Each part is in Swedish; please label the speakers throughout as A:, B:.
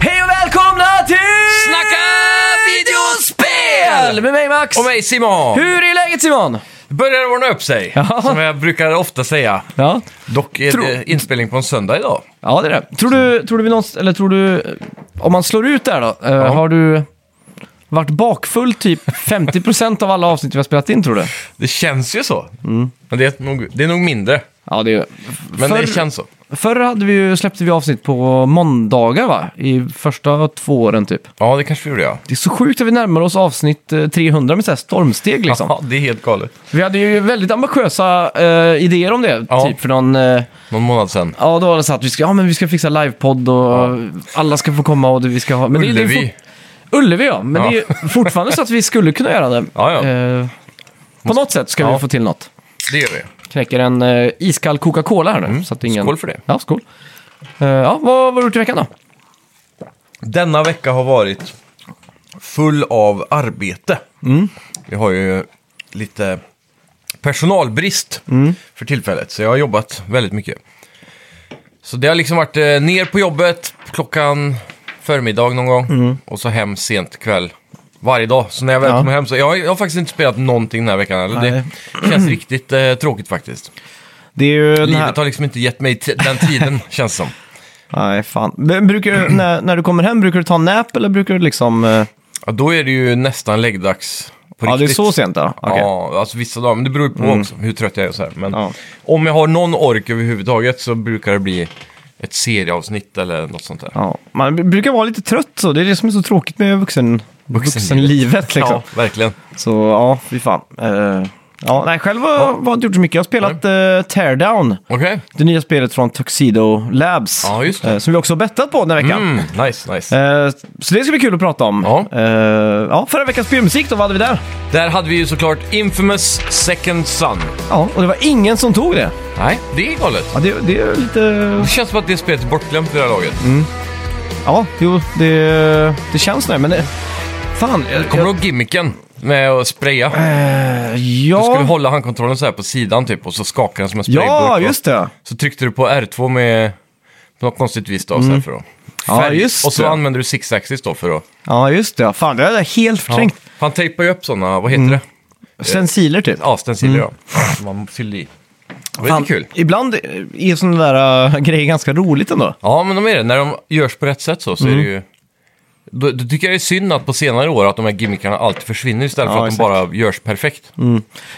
A: Hej och välkomna till
B: Snacka videospel!
A: Med mig Max!
B: Och mig Simon!
A: Hur är läget Simon?
B: Börjar ordna upp sig,
A: Ja.
B: som jag brukar ofta säga.
A: Ja,
B: Dock är
A: Tro-
B: det inspelning på en söndag idag.
A: ja det är det. Tror du, tror du vi någonstans, eller tror du, eh, om man slår ut det här då, eh, har du varit bakfull typ 50% av alla avsnitt vi har spelat in tror du?
B: Det känns ju så.
A: Mm.
B: Men det är, nog, det är nog mindre.
A: Ja, det är
B: Men
A: Förr-
B: det känns så.
A: Förr hade vi ju, släppte vi avsnitt på måndagar va? I första två åren typ.
B: Ja, det kanske vi gjorde ja.
A: Det är så sjukt att vi närmar oss avsnitt eh, 300 med så här stormsteg liksom.
B: Ja, det är helt galet.
A: Vi hade ju väldigt ambitiösa eh, idéer om det,
B: Ja.
A: typ för någon... Eh,
B: Någon månad sedan.
A: ja, då var det så att vi ska, ja, men vi ska fixa livepodd och alla ska få komma och det, vi ska ha... Men det- Det, är
B: Ullevi.
A: fort- Ullevi ja, men
B: Ja.
A: det är ju fortfarande så att vi skulle kunna göra det.
B: Ja, ja.
A: Eh, på något sätt ska vi
B: Ja.
A: få till något.
B: Det gör vi.
A: Knäcker en eh, iskall Coca-Cola här nu. Så att ingen...
B: Skål för det.
A: Ja, Mm. skål. Eh, ja, vad vad har du gjort i veckan då?
B: Denna vecka har varit full av arbete.
A: Mm.
B: Vi har ju lite personalbrist
A: Mm.
B: för tillfället, så jag har jobbat väldigt mycket. Så det har liksom varit eh, ner på jobbet klockan förmiddag någon gång och så hem sent kväll varje dag. Så när jag väl
A: Mm. Ja.
B: kommer hem så jag har, jag har faktiskt inte spelat någonting den här veckan. Eller?
A: Nej.
B: Det känns riktigt eh, tråkigt faktiskt.
A: Det är ju... den här-
B: Livet har liksom inte gett mig t- den tiden känns som.
A: Nej, fan. Men brukar du, när, när du kommer hem, brukar du ta en nap eller brukar du liksom... eh,
B: Ja, då är det ju nästan läggdags på
A: ja, det är
B: riktigt.
A: så sent då? Okej. Mm.
B: Ja, alltså vissa dagar. Men det beror ju på också hur trött jag är och så här. Men
A: Ja.
B: om jag har någon ork överhuvudtaget så brukar det bli ett serieavsnitt eller något sånt där.
A: Ja. Man b- brukar vara lite trött så, det är det som är så tråkigt med vuxen, vuxenlivet liksom.
B: Ja, verkligen.
A: Så ja, fy fan. Eh, ja, nej, själv har jag har jag inte gjort så mycket. Jag har spelat eh, Teardown,
B: Okej.
A: det nya spelet från Tuxedo Labs.
B: Ja, just det.
A: eh, som vi också har bettat på den här veckan.
B: Mm, nice, nice.
A: Eh, så det ska bli kul att prata om.
B: Ja.
A: Eh, ja, förra veckans spelmusik då, vad hade vi där?
B: Där hade vi ju såklart Infamous Second Son.
A: Ja, och det var ingen som tog det.
B: Nej, det är galet.
A: Ja, det, det är lite...
B: Det känns som att det spelet är bortglömt i det här laget.
A: Mm. Ja, jo, det, det känns det, men det... Fan, jag...
B: Kommer du ihåg gimmicken med att spraya?
A: jag- eh, ja,
B: Du skulle hålla handkontrollen så här på sidan typ och så skakade den som en sprayburk.
A: ja,
B: va?
A: just det.
B: Så tryckte du på R2 med på något konstigt vis då, så här för att
A: Mm. Ja, just
B: och så
A: det.
B: använder du six-axis då för att...
A: Ja, just det. Fan, det är helt förträngt.
B: Ja. Han tejpar ju upp sådana, vad
A: Mm.
B: heter det?
A: Sensiler typ.
B: Ja, stenciler ja. Som man fyller i. Det var
A: Fan,
B: lite kul.
A: Ibland är sådana där äh, grejer ganska roligt ändå.
B: Ja, men de är det. När de görs på rätt sätt så, så
A: Mm.
B: är det ju... Då, då tycker jag det är synd att på senare år att de här gimmickarna alltid försvinner istället
A: Ja,
B: för att
A: exakt. Mm,
B: de bara görs perfekt.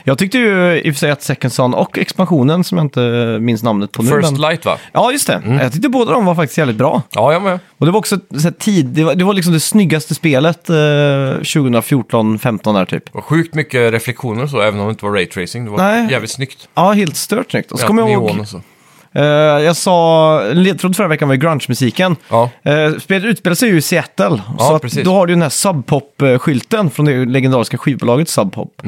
A: Jag tyckte ju i och för sig att Second Son och expansionen, som jag inte minns namnet på nu.
B: First Mm.
A: men...
B: light va?
A: Ja, just det. Jag tyckte båda de var faktiskt jävligt bra.
B: Ja, jag med.
A: Och det var också ett så här, tid, det var, det var liksom det snyggaste spelet eh, 2014-15 där typ.
B: Det var sjukt mycket reflektioner och så, även om det inte var raytracing. Det var
A: Nej.
B: jävligt snyggt.
A: Ja, helt stört snyggt. Och så kommer jag
B: Neon
A: ihåg,
B: och så.
A: eh, jag sa, ledtråd förra veckan var ju grunge-musiken.
B: Ja.
A: Eh, spelet utspelar sig ju i Seattle, så
B: Ja,
A: att
B: precis.
A: då har du ju den här Subpop-skylten från det legendariska skivbolaget Subpop.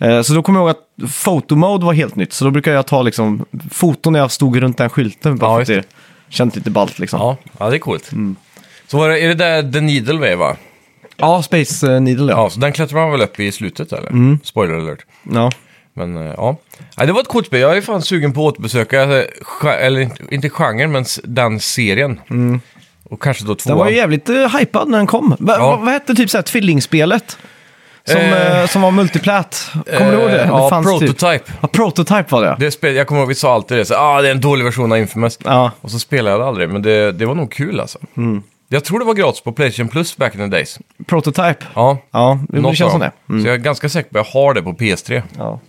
A: Eh, Så då kommer jag ihåg att fotomode var helt nytt, så då brukar jag ta liksom, foton när jag stod runt den skylten. Bara
B: Ja,
A: för att det
B: just
A: kändes lite ballt liksom. Ja,
B: Ja, ja det är coolt.
A: Mm.
B: Så var det, är det där The Needle Way va?
A: Space eh, Needle ja.
B: Ja, så den klättrar man väl upp i slutet eller?
A: Mm.
B: Spoiler alert.
A: ja.
B: Men eh, ja. Nej, det var ett coolt spel. Jag är fan sugen på att återbesöka, eh, gen- eller inte- inte genren, men s- den serien. Och kanske då
A: Mm. Den
B: tvåan.
A: var ju jävligt uh, hypad när den kom. Va, va, vad hette typ såhär tvillingspelet? Som,
B: Eh.
A: eh, som var multiplat. Kommer du ihåg det?
B: Eh,
A: det
B: ja,
A: Typ.
B: Prototype.
A: Ja, prototype var det.
B: Det spel, jag kommer ihåg, vi sa alltid det. Så, ah, det är en dålig version av Infamous.
A: Ja. Mm.
B: Och så spelade jag det aldrig, men det, det var nog kul alltså. Jag tror det var gratis på Playstation Plus back in the days.
A: Prototype.
B: Ja,
A: Ja, det
B: något av
A: känns som
B: dem.
A: det. Mm.
B: Så jag är ganska säker på att jag har det på PS3.
A: Ja.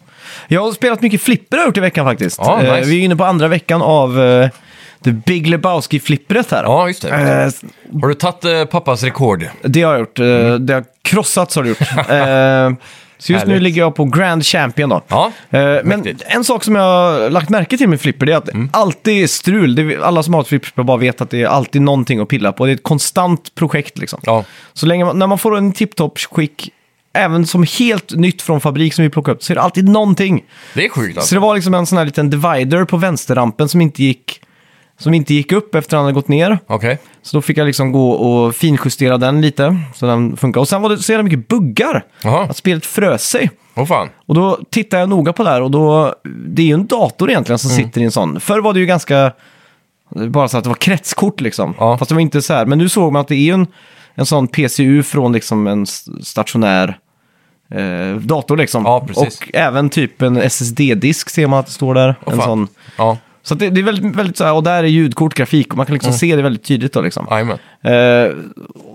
A: Jag har spelat mycket flipper har jag gjort i veckan faktiskt.
B: Ja,
A: Eh,
B: nice.
A: Vi är inne på andra veckan av uh, The Big Lebowski-flippret här.
B: Ja, just det.
A: Eh,
B: Har du tagit eh, pappas rekord?
A: det har jag gjort. Eh, Det har krossats har det gjort. Eh, så just nu
B: Mm. Härligt.
A: ligger jag på Grand Champion då.
B: Ja,
A: Eh, Men
B: mäktigt.
A: en sak som jag har lagt märke till med flipper det är att
B: Mm.
A: alltid är strul. Det är, alla som har ett flipperspel bara vet att det är alltid någonting att pilla på. Det är ett konstant projekt liksom.
B: Ja.
A: Så länge man, när man får en tipptopp skick även som helt nytt från fabrik som vi plockade upp, så är det alltid någonting.
B: Det är sjukt
A: Så
B: alltså.
A: det var liksom en sån här liten divider på vänsterrampen som inte gick, som inte gick upp efter att han hade gått ner.
B: Okej.
A: Så då fick jag liksom gå och finjustera den lite, så den funkar. Och sen var det så jävla mycket buggar,
B: Jaha.
A: att spelet frös sig.
B: Åh fan.
A: Och då tittar jag noga på det här och då, det är ju en dator egentligen som
B: Mm.
A: sitter i en sån. Förr var det ju ganska, bara så att det var kretskort liksom.
B: Ja.
A: Fast det var inte så här, men nu såg man att det är ju en, en sån PCU från liksom en s- stationär eh, dator liksom.
B: Ja, precis.
A: och även typ en SSD-disk ser man att det står där.
B: Åh
A: en
B: fan.
A: sån.
B: Ja,
A: Så att det, det är väldigt, väldigt så här, och där är ljudkort, grafik och man kan liksom
B: Mm.
A: se det väldigt tydligt då liksom.
B: jajamän.
A: Eh,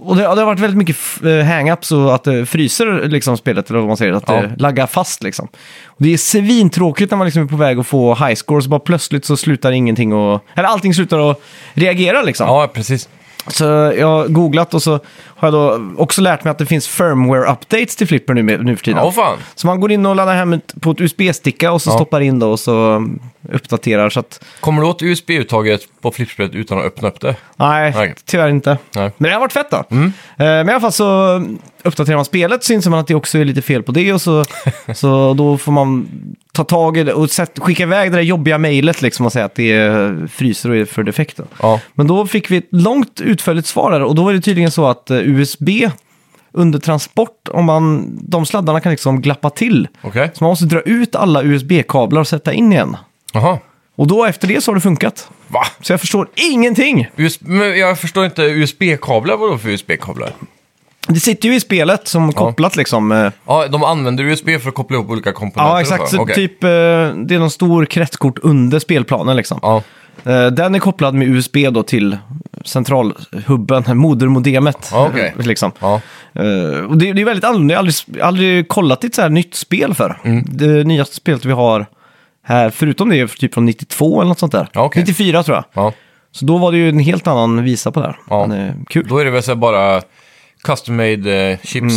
A: och det, ja, det har varit väldigt mycket f- eh, hang-ups och att det fryser liksom, spelet, eller vad man säger, att
B: Ja.
A: det laggar fast liksom. Och det är svintråkigt när man liksom är på väg att få high score, så bara plötsligt så slutar ingenting och, eller allting slutar att reagera liksom.
B: Ja, precis.
A: Så jag har googlat och så har jag då också lärt mig att det finns firmware-updates till Flipper nu, nu för tiden.
B: Åh fan.
A: Så man går in och laddar hem ett- på ett USB-sticka och så
B: Ja.
A: stoppar in då och så mm, uppdaterar. Så att,
B: Kommer du åt USB-uttaget på flipspelet utan att öppna upp det?
A: Nej,
B: Nej.
A: tyvärr inte.
B: Nej.
A: Men det har varit fett då. Eh, Men i alla fall så uppdaterar man spelet så inser man att det också är lite fel på det och så, så då får man ta tag i det och sätt, skicka iväg det där jobbiga mejlet liksom och säga att det är fryser och är för defekt. Då.
B: Ja.
A: Men då fick vi ett långt utförligt svar där och då var det tydligen så att eh, USB under transport, om man, de sladdarna kan liksom glappa till.
B: Okej.
A: Så man måste dra ut alla USB-kablar och sätta in igen.
B: Jaha.
A: Och då efter det så har det funkat.
B: Va?
A: Så jag förstår ingenting!
B: US- men jag förstår inte, USB-kablar, vadå för USB-kablar?
A: Det sitter ju i spelet som kopplat liksom. eh,
B: Ja, de använder USB för att koppla ihop olika komponenter
A: Ja,
B: och
A: exakt. Så
B: Okej.
A: typ, eh, det är någon stor kretskort under spelplanen liksom.
B: Ja,
A: Eh, Den är kopplad med USB då till centralhubben, modermodemet.
B: Ja, okej.
A: eh, Liksom.
B: ja.
A: Eh, Och det, det är väldigt annorlunda, jag har aldrig, aldrig kollat i ett så här nytt spel för.
B: Mm.
A: Det nyaste spelet vi har här, förutom det, är typ från 92 eller något sånt där.
B: Ja, okej.
A: 94 tror jag.
B: ja.
A: Så då var det ju en helt annan visa på det här.
B: Ja.
A: Men, eh, kul.
B: Då är det väl så här bara custom made eh, chips.
A: Mm.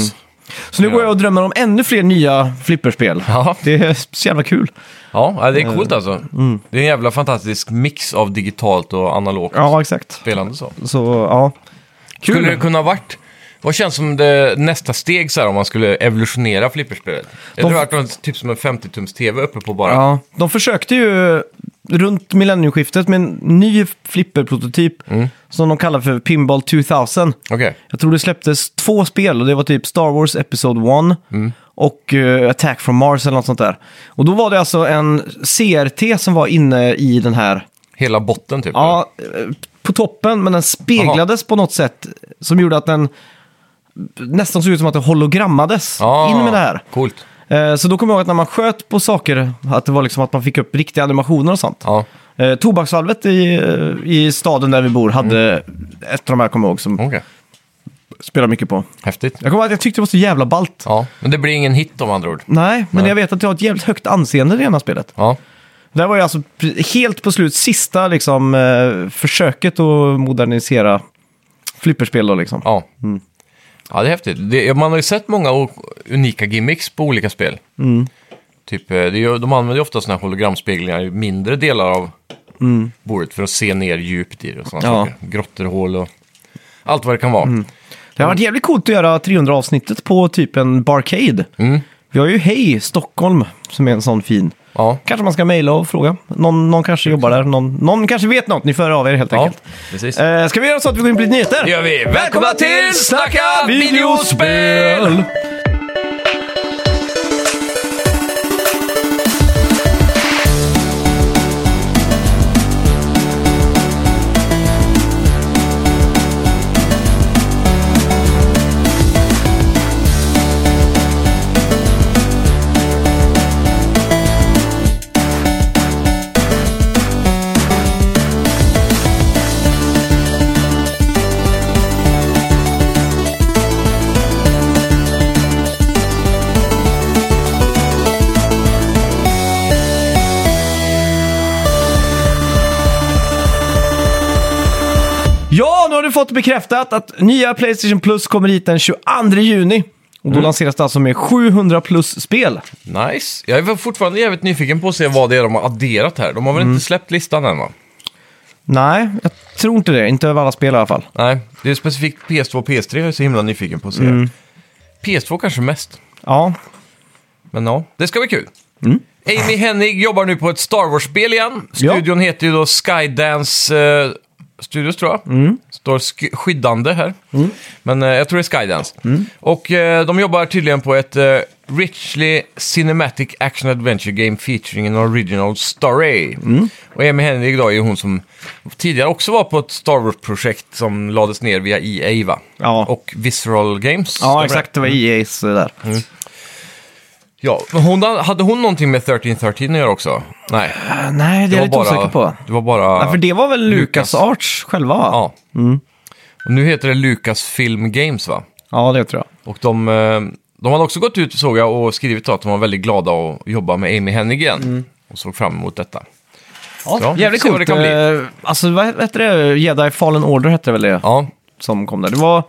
A: Så nu går jag och drömmer om ännu fler nya flipperspel.
B: Ja.
A: Det är så jävla kul.
B: Ja, ja, det är coolt alltså.
A: Mm.
B: Det är en jävla fantastisk mix av digitalt och analogt
A: Ja, exakt.
B: spelande så.
A: Så ja. Kul.
B: Skulle det kunna ha varit... Vad känns som det nästa steg så här om man skulle evolutionera flipperspelet? Jag tror att det var typ som en 50-tums-tv uppe på bara.
A: ja, de försökte ju runt millennieskiftet med en ny flipperprototyp som de kallar för Pinball 2000.
B: Okej.
A: Jag tror det släpptes två spel och det var typ Star Wars Episode 1 och eh, Attack from Mars eller något sånt där. Och då var det alltså en CRT som var inne i den här
B: Hela botten typ.
A: Ja, eh, på toppen, men den speglades på något sätt som gjorde att den nästan såg ut som att den hologrammades
B: Ah,
A: in med det här.
B: Coolt.
A: Eh, Så då kommer jag ihåg att när man sköt på saker, att det var liksom att man fick upp riktiga animationer och sånt.
B: Ja,
A: Eh, Tobaksvalvet i, eh, i staden där vi bor hade ett av de här, kommer jag ihåg, som
B: okej.
A: spelar mycket på.
B: Häftigt.
A: Jag kommer ihåg att jag tyckte det var så jävla ballt.
B: Ja, men det blir ingen hit om andra ord.
A: Nej, men jag vet att jag har ett jävligt högt anseende i det ena spelet.
B: Ja,
A: Det här var ju alltså pre- helt på slut sista liksom, eh, försöket att modernisera flipperspel då liksom.
B: ja. Ja, det är häftigt. Det, man har ju sett många o- unika gimmicks på olika spel.
A: Mm.
B: Typ, eh, det är, ju- de använder ju ofta sådana här hologramspeglingar i mindre delar av bordet för att se ner djupt i det och sådana
A: Mm. Ja. Mm.
B: saker. Grottor, hål och allt vad det kan vara.
A: Det har varit jävligt coolt att göra 300-avsnittet på typ en barcade. Vi har ju Hej Stockholm som är en sån fin.
B: Ja,
A: Kanske man ska mejla och fråga. Någon, någon kanske jobbar där, någon, någon kanske vet något. Ni får höra av er helt
B: ja
A: enkelt.
B: precis.
A: Eh, ska vi göra så att vi går in på lite nyheter?
B: Det gör vi. Välkomna till Snacka videospel!
A: Ja, nu har du fått bekräftat att nya Playstation Plus kommer hit den 22 juni. Och då lanseras det alltså med 700 plus spel.
B: Nice. Jag är fortfarande jävligt nyfiken på att se vad det är de har adderat här. De har väl
A: Mm.
B: inte släppt listan än va?
A: Nej, jag tror inte det. Inte över alla spel i alla fall. Mm.
B: Nej, det är specifikt PS2 och PS3 jag är så himla nyfiken på att se. PS2 kanske mest.
A: Ja,
B: Men ja, det ska bli kul. Amy Hennig jobbar nu på ett Star Wars-spel igen.
A: Mm. Ja.
B: Studion heter ju då Skydance eh, Studios tror jag.
A: Mm.
B: Står sk- skyddande här. Men eh, jag tror det är Skydance.
A: Mm.
B: Och eh, de jobbar tydligen på ett eh, Richly Cinematic Action Adventure Game featuring an original story.
A: Mm.
B: Och Amy Hennig då är ju hon som tidigare också var på ett Star Wars-projekt som lades ner via EA va?
A: Ja.
B: Och Visceral Games.
A: ja
B: stämmer det?
A: exakt. Det var E EA's eh, där.
B: Ja, men hon, hade hon någonting med 1313 att göra också? Nej,
A: Äh, nej, det är jag lite osäker på.
B: Det var bara...
A: Ja, för det Mm. var väl Lucas
B: Lucas.
A: Arts själva? va?
B: Ja. Och nu heter det Lucas Film Games va?
A: ja, det tror jag.
B: Och de, eh, de hade också gått ut såg jag och skrivit att de var väldigt glada att jobba med Amy Hennig igen.
A: Mm.
B: Och såg fram emot detta. Ja,
A: Jävligt
B: vi får se vad
A: coolt.
B: det kan
A: Eh, Alltså, vad hette det? Jedi Fallen Order hette det väl det?
B: Ja,
A: Som kom där. Det var,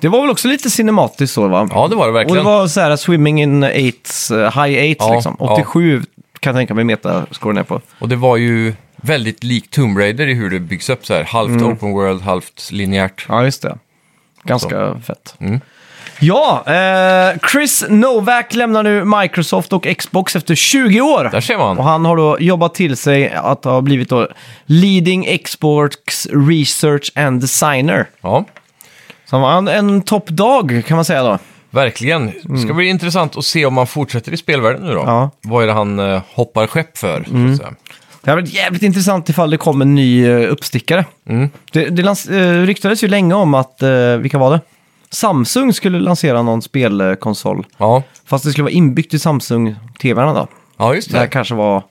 A: det var väl också lite cinematiskt så, va?
B: ja det var
A: Och
B: det
A: det
B: verkligen.
A: var så här swimming in eights, eh, high eights
B: Ja,
A: liksom.
B: ja.
A: 87 kan jag tänka mig metascoren är på.
B: Och det var ju väldigt likt Tomb Raider i hur det byggs upp så här. Halvt
A: Mm.
B: open world, halvt linjärt.
A: Ja, just det. Ganska fett.
B: Mm.
A: Ja, eh, Chris Novak lämnar nu Microsoft och Xbox efter 20 år.
B: Där ser
A: Och
B: man.
A: han har då jobbat till sig att ha blivit då leading Xbox research and designer.
B: Ja,
A: Så han var en, en toppdag kan man säga då.
B: verkligen. Det ska bli intressant att se om han fortsätter i spelvärlden nu då.
A: Mm. Ja. Mm.
B: Vad är det han eh, hoppar skepp för? så att säga.
A: Det hade varit jävligt intressant ifall det kom en ny eh, uppstickare.
B: Mm.
A: Det, det lans- eh, ryktades ju länge om att, eh, vilka var det? Samsung skulle lansera någon spelkonsol.
B: Ja.
A: Fast det skulle vara inbyggt i Samsung-tvn då.
B: ja, just
A: Det här
B: det.
A: kanske var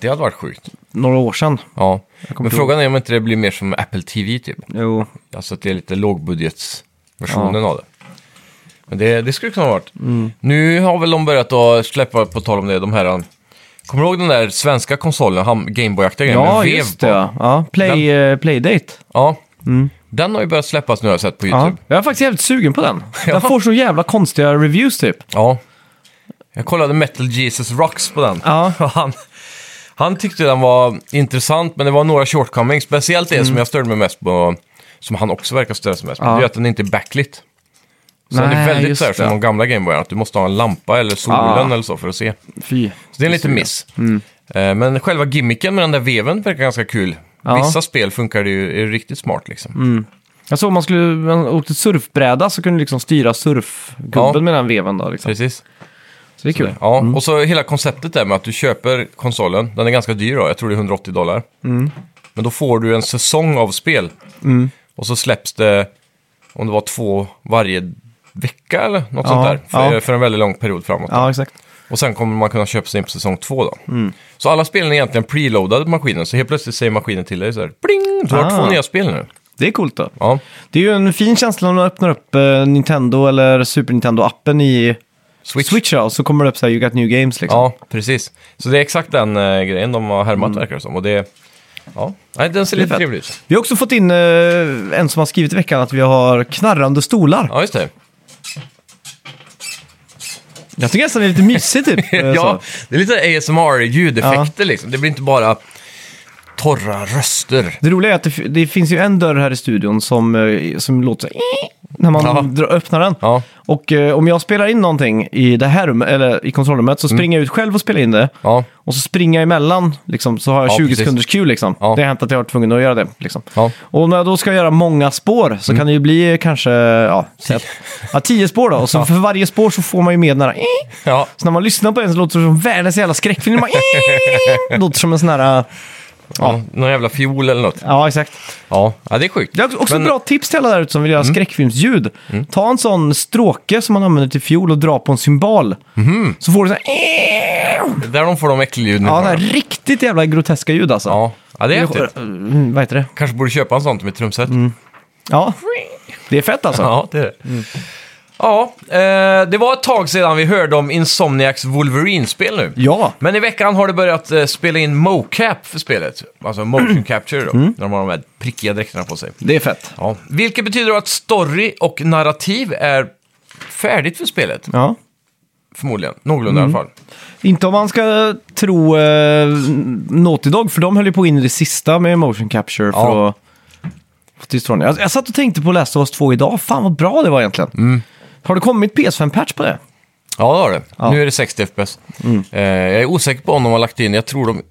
B: Det hade varit sjukt.
A: några år sedan.
B: Ja.
A: kommer
B: Men
A: inte
B: frågan är om inte det blir mer som Apple TV typ.
A: Jo,
B: Alltså att det är lite lågbudgetsversionen av det. Men det, det skulle kunna ha varit.
A: Mm.
B: Nu har väl de börjat att släppa, på tal om det, de här... um, Kommer du ihåg den där svenska konsolen, ham- Gameboy-aktiga grejen?
A: ja
B: med vev
A: just
B: på?
A: det. Ja. Ja, play, eh, playdate.
B: Ja. Den har ju börjat släppas nu har jag sett på
A: Ja.
B: YouTube. Ja.
A: Jag är faktiskt jävligt sugen på den. Den får så jävla konstiga reviews typ.
B: Jag kollade Metal Jesus Rocks på den.
A: Ja.
B: Och han, han tyckte den var intressant, men det var några shortcomings. Speciellt det som jag störde mig mest på, som han också verkar störa sig mest på,
A: Mm. Ja.
B: det är att den inte är backlit. Så den
A: Nej,
B: är väldigt
A: just
B: så här, som
A: det.
B: de gamla Gameboyarna, att du måste ha en lampa eller solen
A: Ja. Mm.
B: eller så för att se.
A: Fy.
B: Så det är en liten miss. Eh, Men själva gimmicken med den där veven verkar ganska kul.
A: Ja. Mm.
B: Vissa spel funkar det ju är riktigt smart liksom.
A: Jag såg Alltså, om man skulle, man åkte surfbräda så kunde du liksom styra surfgubben
B: Ja.
A: med den veven då liksom.
B: Precis.
A: Så det är kul.
B: Ja, och så hela konceptet där med att du köper konsolen, den är ganska dyr då, jag tror det är 180 dollar.
A: Mm.
B: Men då får du en säsong av spel. Och så släpps det, om det var två varje vecka eller något
A: Ja,
B: sånt där, för,
A: ja.
B: för en väldigt lång period framåt.
A: Ja, Mm. exakt.
B: Och sen kommer man kunna köpa sig in på säsong två då. Så alla spelen är egentligen preloadade på maskinen, så helt plötsligt säger maskinen till dig så här, pling, du har
A: Ah.
B: två nya spel nu.
A: Det är coolt då.
B: Ja,
A: Det är ju en fin känsla när man öppnar upp eh, Nintendo eller Super Nintendo-appen i
B: Switch.
A: Switch ja, och så kommer det upp så här You Got New Games liksom. Mm.
B: Ja, precis. Så det är exakt den eh, grejen de har härmat verkar det som. Och det, ja, nej, den ser
A: Det är
B: lite
A: fett.
B: trevlig ut.
A: Vi har också fått in eh, en som har skrivit i veckan att vi har knarrande stolar.
B: Ja, just det.
A: Jag tycker nästan det är lite mysigt typ. eh,
B: ja,
A: så.
B: det är lite ASMR-ljudeffekter liksom. Det blir inte bara torra röster.
A: Det roliga är att det, f- det finns ju en dörr här i studion som, eh, som låter så här, när man
B: Ja.
A: drar, öppnar den.
B: Ja,
A: Och eh, om jag spelar in någonting i det här rummet, eller i kontrollrummet, så
B: Mm.
A: springer jag ut själv och spelar in det.
B: ja,
A: Och så springer jag emellan, liksom, så har jag
B: Ja,
A: 20
B: precis.
A: sekunders cue liksom.
B: Ja.
A: Det har hänt att jag har varit tvungen att göra det. Liksom.
B: ja. Mm.
A: Och när jag då ska göra många spår så kan det ju bli kanske, ja, tio, ja, tio spår då. Och så för varje spår så får man ju med den här...
B: ja.
A: Så när man lyssnar på den så låter det som världens jävla skräckfilm. Man, låter som en sån här...
B: ja. Någon jävla fiol eller något.
A: Ja, exakt.
B: Ja, ja det är sjukt.
A: Det är också
B: Men- Mm.
A: bra tips till alla där ute som vill göra skräckfilmsljud. Ta en sån stråke som man använder till fiol och dra på en cymbal.
B: Mhm.
A: Så får du så här...
B: Det är Där de får de äckelljuden
A: Ja,
B: ifrån,
A: det här riktigt jävla groteska ljud alltså.
B: ja. ja, det är Mm. häftigt.
A: Mm, Vad heter det?
B: Kanske borde köpa en sån till mitt trumset.
A: Ja, det är fett alltså. Ja,
B: Ja, det är det. Ja, eh, det var ett tag sedan vi hörde om Insomniacs Wolverine-spel nu. Men i veckan har det börjat eh, spela in mocap för spelet. Alltså motion capture då, när de har de här prickiga dräkterna på sig.
A: det är fett.
B: Ja. Vilket betyder att story och narrativ är färdigt för spelet,
A: Ja.
B: förmodligen. Någorlunda
A: Mm.
B: i alla fall.
A: Inte om man ska tro eh, Naughty Dog, för de höll ju på in i det sista med motion capture för
B: Ja.
A: att få till stånd. Jag, jag
B: Mm.
A: satt och tänkte på Last of Us 2 idag, fan vad bra det var egentligen. Har det kommit PS5-patch på det?
B: Ja, det har det.
A: Ja. Mm.
B: Nu är det 60 FPS. Eh, jag är osäker på om de har lagt in, jag tror de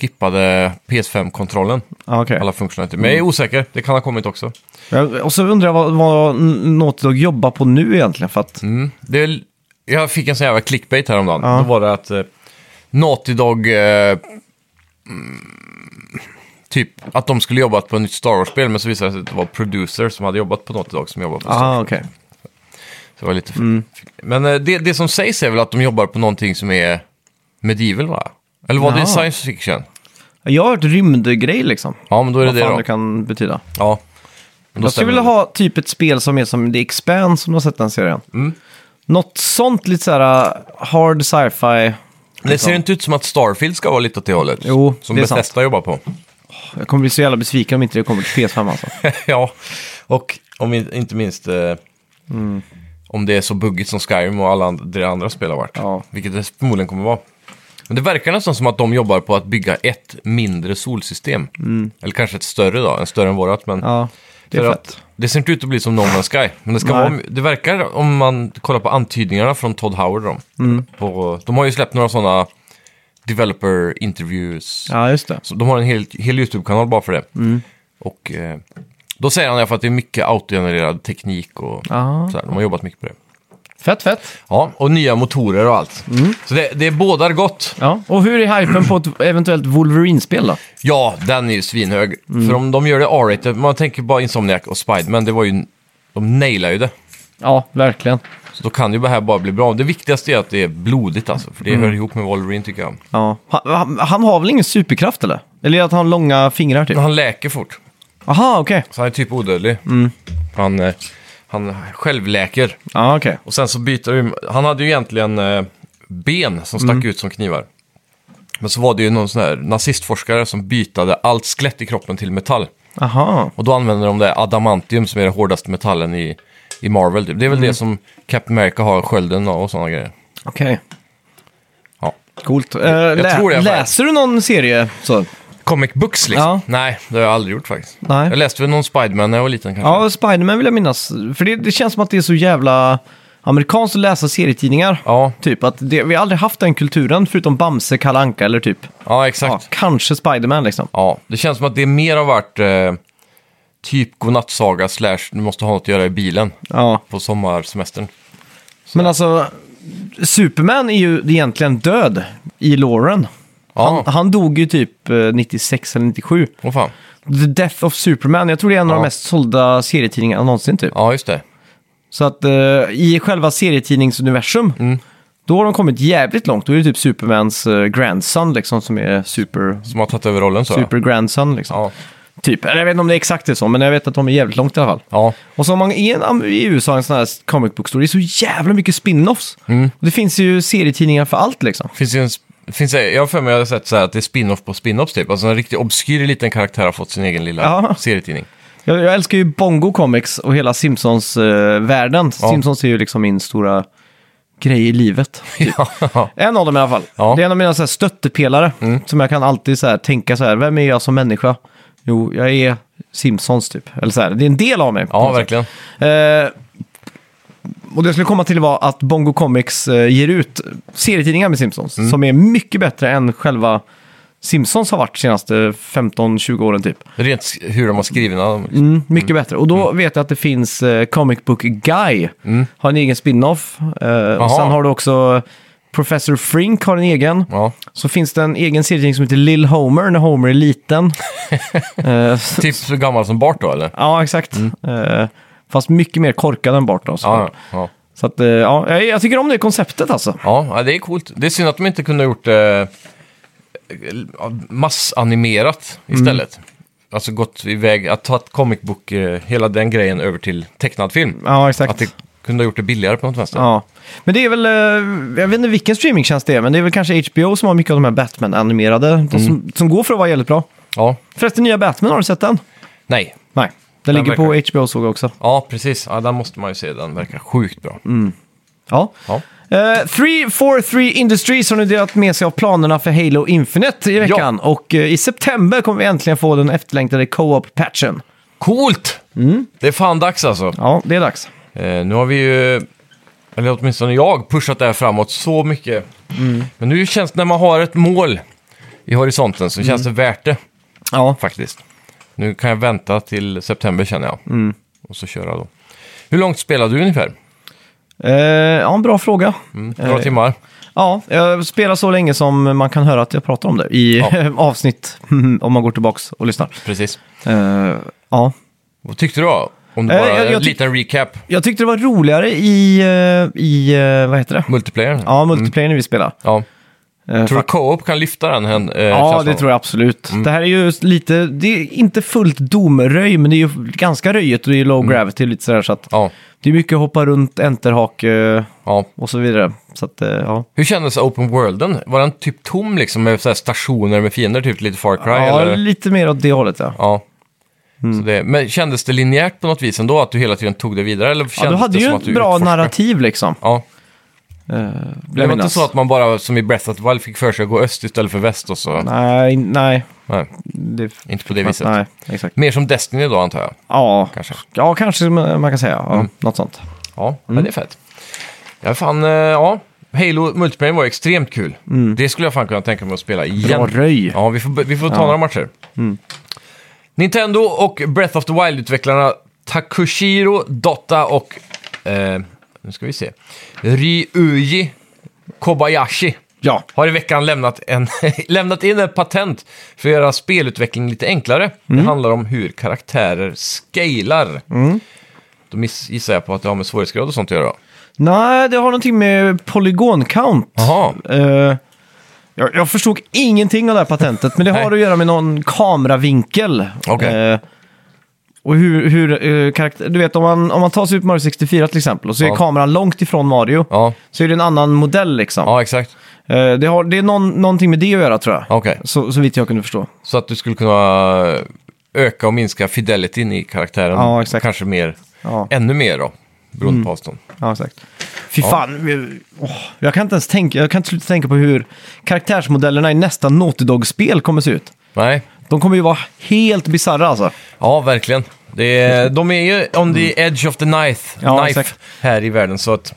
B: skippade PS5-kontrollen,
A: Ja, okej. Mm.
B: alla funktionaliteter. Men jag är osäker, det kan ha kommit också.
A: Ja, Och så undrar jag vad, vad Naughty Dog jobbar på nu egentligen. För att,
B: Mm. Det är, jag fick en sån jävla clickbait häromdagen.
A: Ja.
B: Då var det att eh, Naughty Dog... Eh, mm, typ att de skulle jobbat på ett nytt Star Wars-spel, men så visade det sig att det var producer som hade jobbat på Naughty Dog som jobbade på Star
A: ah, okej.
B: Så det var lite...
A: Mm.
B: Men eh, det, det som sägs är väl att de jobbar på någonting som är medieval, va? Eller var
A: Ja.
B: det science fiction?
A: Jag har hört rymdgrej liksom.
B: Ja, men då är det
A: Vad
B: det
A: fan
B: då.
A: det kan betyda.
B: Ja. Men då
A: jag skulle
B: stämmer
A: vilja
B: det.
A: ha typ ett spel som är som The Expanse om du har sett den serien.
B: Mm.
A: Något sånt lite såhär uh, hard sci-fi.
B: Det ser ju inte ut som att Starfield ska vara lite åt det hållet.
A: Jo,
B: som
A: det är sant.
B: Bethesda jobbar på.
A: Jag kommer bli så jävla besviken om inte det kommer till PS5 alltså.
B: ja, och om in- inte minst eh,
A: Mm.
B: om det är så buggigt som Skyrim och alla and- det andra spel har varit.
A: Ja.
B: Vilket det förmodligen kommer vara. Men det verkar nästan som att de jobbar på att bygga ett mindre solsystem.
A: Mm.
B: Eller kanske ett större då, en större än vårat. Men
A: Ja, det
B: för
A: är
B: att
A: fett.
B: det ser inte ut att bli som No Man's Sky. Men det, ska
A: Nej.
B: vara, det verkar, om man kollar på antydningarna från Todd Howard, de,
A: Mm.
B: på, de har ju släppt några sådana developer interviews.
A: Ja, Mm. just det.
B: Så de har en hel, hel YouTube-kanal bara för det. Och eh, då säger han i alla fall att det är mycket autogenererad teknik och
A: Ja.
B: sådär. De har jobbat mycket på det.
A: Fett, fett.
B: Ja, och nya motorer och allt.
A: Mm.
B: Så det, det är bådar gott.
A: Ja. Och hur är hypen på ett eventuellt Wolverine-spel då?
B: Ja, den är ju svinhög.
A: Mm.
B: För om de gör det R-rated, man tänker bara Insomniac och Spiderman, det var ju... De nailar ju det.
A: Ja, verkligen.
B: Så då kan ju det här bara bli bra. Det viktigaste är att det är blodigt alltså, för det hör ihop med Wolverine tycker jag.
A: Ja. Han, han, han har väl ingen superkraft eller? Eller att han har långa fingrar typ?
B: Han läker fort,
A: Aha, okej.
B: så han är typ odödlig. Han, eh, han självläker.
A: Ja, okej.
B: Och sen så byter vi, han hade ju egentligen eh, ben som stack ut som knivar. Men så var det ju någon sån här nazistforskare som bytade allt skelett i kroppen till metall.
A: Aha.
B: Och då använder de det adamantium som är den hårdaste metallen i, i Marvel. Typ. Det är väl det som Captain America har skölden av och sådana grejer.
A: Okej.
B: Ja.
A: Coolt. Eh, lä-
B: tror det, men-
A: läser du någon serie? Så.
B: Comic books liksom?
A: Ja.
B: Nej, det har jag aldrig gjort faktiskt.
A: Nej.
B: Jag läste väl någon Spiderman när jag var liten kanske.
A: Ja, Spiderman vill jag minnas. För det, det känns som att det är så jävla amerikanskt att läsa serietidningar.
B: Ja,
A: Typ att det, vi har aldrig haft den kulturen förutom Bamse, Kalle Anka eller typ.
B: ja
A: Ja,
B: exakt. Ja.
A: kanske Spiderman liksom.
B: det känns som att det mer har varit eh, typ godnattsaga slash du måste ha något att göra i bilen
A: Ja.
B: på sommarsemestern.
A: Men alltså, Superman är ju egentligen död i Lauren.
B: Ja,
A: Han, han dog ju typ eh, 96 eller 97.
B: åh fan.
A: The Death of Superman, jag tror det är en av
B: Ja.
A: de mest sålda serietidningarna någonsin typ.
B: Ja, just det.
A: Så att eh, i själva serietidningsuniversum,
B: Mm.
A: då har de kommit jävligt långt. Då är det typ Supermans eh, grandson liksom som är super,
B: Som har tagit över rollen så.
A: super grandson liksom.
B: Ja.
A: Typ, eller jag vet inte om det är exakt det är så, men jag vet att de är jävligt långt i alla fall.
B: ja,
A: Och så har man i, en, i USA en sån här comic book store, det är så jävla mycket spin-offs.
B: Mm.
A: Och det finns ju serietidningar för allt liksom.
B: finns det en... sp- Finns det, jag har för mig att jag har sett så här att det är spin-off på spin-offs typ. Alltså en riktigt obskyr liten karaktär har fått sin egen lilla
A: Ja.
B: serietidning.
A: Jag, jag älskar ju Bongo Comics och hela Simpsons-världen.
B: Ja.
A: Simpsons är ju liksom min stora grej i livet. typ.
B: ja.
A: En av dem i alla fall.
B: Ja. Mm.
A: Det är en av mina så här stöttepelare som jag kan alltid så här tänka så här, vem är jag som människa? Jo, jag är Simpsons typ. Eller så här, det är en del av mig. på
B: ja,
A: något sätt.
B: verkligen.
A: Eh, och det jag skulle komma till var att Bongo Comics eh, ger ut serietidningar med Simpsons
B: Mm.
A: som är mycket bättre än själva Simpsons har varit de senaste 15-20 åren typ.
B: Rent sk- hur de har skrivit dem.
A: Mm, mycket bättre. Och då vet jag att det finns eh, Comic Book Guy. Har en egen spin-off. Eh, och
B: Mm. Jaha.
A: sen har du också Professor Frink har en egen.
B: Ja.
A: Så finns det en egen serietidning som heter Lil Homer när Homer är liten. Eh,
B: Typ så gammal som Bart då eller?
A: ja, exakt. Eh, fast mycket mer korkad än Bart då. Så,
B: Mm. Ja, ja.
A: så att, eh, ja, jag- jag tycker om det konceptet alltså.
B: Ja, ja, det är coolt. Det är synd att de inte kunde ha gjort eh, massanimerat istället. Alltså gått iväg, att ta ett comic book, eh, hela den grejen över till tecknad film.
A: Ja,
B: Att
A: exakt.
B: det kunde ha gjort det billigare på något vänster.
A: Ja. Men det är väl, eh, jag vet inte vilken streamingtjänst det är, men det är väl kanske HBO som har mycket av de här Batman-animerade.
B: Mm.
A: De som, som går för att vara jävligt bra.
B: Ja.
A: Förresten, nya Batman, har du sett den?
B: Nej.
A: Nej, den,
B: Den
A: ligger på HBO såg jag också.
B: Ja, precis. Ja, den måste man ju se. Den verkar sjukt bra.
A: Ja.
B: Ja.
A: Eh, 343 Industries har nu delat med sig av planerna för Halo Infinite i veckan. Och eh, i september kommer vi äntligen få den efterlängtade co-op-patchen.
B: Coolt! Det är fan dags alltså.
A: Ja, det är dags.
B: Eh, nu har vi ju eller åtminstone jag, pushat det här framåt så mycket. Men nu känns det, när man har ett mål i horisonten så känns det värt det
A: Ja,
B: faktiskt. Nu kan jag vänta till september känner jag.
A: Mm.
B: Och så köra då. Hur långt spelar du ungefär? Mm,
A: eh, ja en bra fråga.
B: Några timmar?
A: Ja, jag spelar så länge som man kan höra att jag pratar om det i
B: Ja.
A: avsnitt, om man går tillbaks och lyssnar.
B: Precis.
A: Eh, ja.
B: Vad tyckte du då? Om du
A: Eh,
B: bara,
A: jag- jag
B: en
A: tyck-
B: liten recap.
A: Jag tyckte det var roligare i, eh, i eh, vad heter det?
B: Multiplayer?
A: Ja, multiplayer när vi spelar.
B: Ja.
A: Eh,
B: Tror du
A: fakt-
B: co-op kan lyfta den? Hen, eh,
A: ja, det tror jag absolut.
B: Mm.
A: Det här är ju lite, det är inte fullt domröj, men det är ju ganska röjigt och det är ju
B: Mm.
A: low gravity och lite sådär. Så att
B: Ja,
A: det är mycket hoppa runt, enterhake eh,
B: ja.
A: och så vidare. Så att, eh, ja.
B: Hur kändes open worlden? Var den typ tom liksom med så här stationer med fiender, typ lite Far Cry?
A: ja, Mm.
B: eller?
A: lite mer åt det hållet ja.
B: ja. Så det, men kändes det linjärt på något vis ändå? Att du hela tiden tog det vidare? Eller kändes
A: ja du hade
B: det
A: ju
B: som att
A: ett
B: du
A: bra
B: utforskade?
A: narrativ liksom.
B: Ja.
A: Eh,
B: Det var inte så att man bara som i Breath of the Wild fick för sig att gå öst istället för väst och så?
A: Nej, nej.
B: Nej,
A: Det...
B: inte på det viset.
A: Nej, exakt.
B: Mer som Destiny då antar jag.
A: Ja,
B: Kanske.
A: ja kanske eh, man man kan säga. Ja,
B: Mm.
A: Något sånt.
B: Ja, men
A: Mm.
B: det är fett. Ja, fan, eh, ja. Halo Multiplayer var extremt kul. Det skulle jag fan kunna tänka mig att spela igen.
A: Mm. Bra röj. Mm.
B: Ja, vi får, vi får ta några matcher. Nintendo och Breath of the Wild-utvecklarna Takushiro, Dotta och... Eh, nu ska vi se. Ryuji Kobayashi
A: Ja.
B: har i veckan lämnat, en lämnat in ett patent för att göra spelutveckling lite enklare.
A: Mm.
B: Det handlar om hur karaktärer scalar. Då miss, gissar jag på att det har med svårighetsgrad och sånt att göra. då.
A: Nej, det har någonting med polygoncount.
B: Jaha,
A: Eh, jag, jag förstod ingenting av det här patentet, men det har
B: Nej.
A: att göra med någon kameravinkel.
B: Okej.
A: Eh, och hur, hur eh, karaktär, du vet om man, om man tar Super Mario 64 till exempel och så är
B: Ja.
A: kameran långt ifrån Mario
B: ja,
A: så är det en annan modell liksom.
B: ja exakt.
A: Eh, det, har, det är någon, någonting med det att göra tror jag.
B: Okej,
A: Så, så vitt jag kunde förstå.
B: så att du skulle kunna öka och minska fidelityn i karaktären.
A: Ja, exakt. Mm.
B: Kanske mer,
A: Ja,
B: ännu mer då, beroende på avstånd.
A: ja exakt. Fy fan, vi- åh, jag kan inte ens tänka, jag kan inte sluta tänka på hur karaktärsmodellerna i nästa Naughty Dog-spel kommer se ut.
B: Nej,
A: De kommer ju vara helt bisarra alltså.
B: ja verkligen. Det är, de är ju on the edge of the knife,
A: Mm. Ja,
B: knife
A: exakt.
B: här i världen. Så att,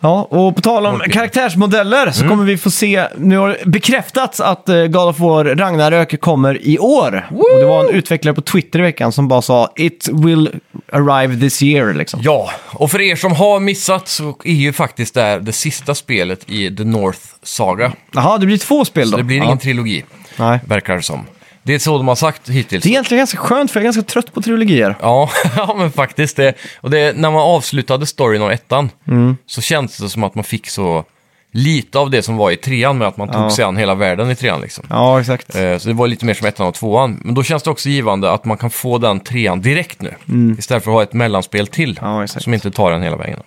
A: Ja, och på tal om
B: Okej. Mm.
A: karaktärsmodeller så kommer vi få se, nu har det bekräftats att eh, God of War Ragnarök kommer i år. Och det var en utvecklare på Twitter i veckan som bara sa “It will arrive this year” liksom.
B: Ja, och för er som har missat så är ju faktiskt det här det sista spelet i The North Saga.
A: Jaha, det blir två spel då?
B: Det blir
A: ja.
B: ingen trilogi,
A: Nej.
B: verkar det som. Det är så de har sagt hittills.
A: Det är egentligen ganska skönt för jag är ganska trött på trilogier.
B: Ja, ja, men faktiskt. Det, och det, när man avslutade storyn av ettan
A: Mm.
B: så kändes det som att man fick så lite av det som var i trean med att man tog
A: Ja.
B: sig an hela världen i trean. Liksom.
A: Ja, exakt.
B: Eh, Så det var lite mer som ettan och tvåan. Men då känns det också givande att man kan få den trean direkt nu. Istället för att ha ett mellanspel till
A: Mm. Ja, exakt.
B: som inte tar en hela vägen.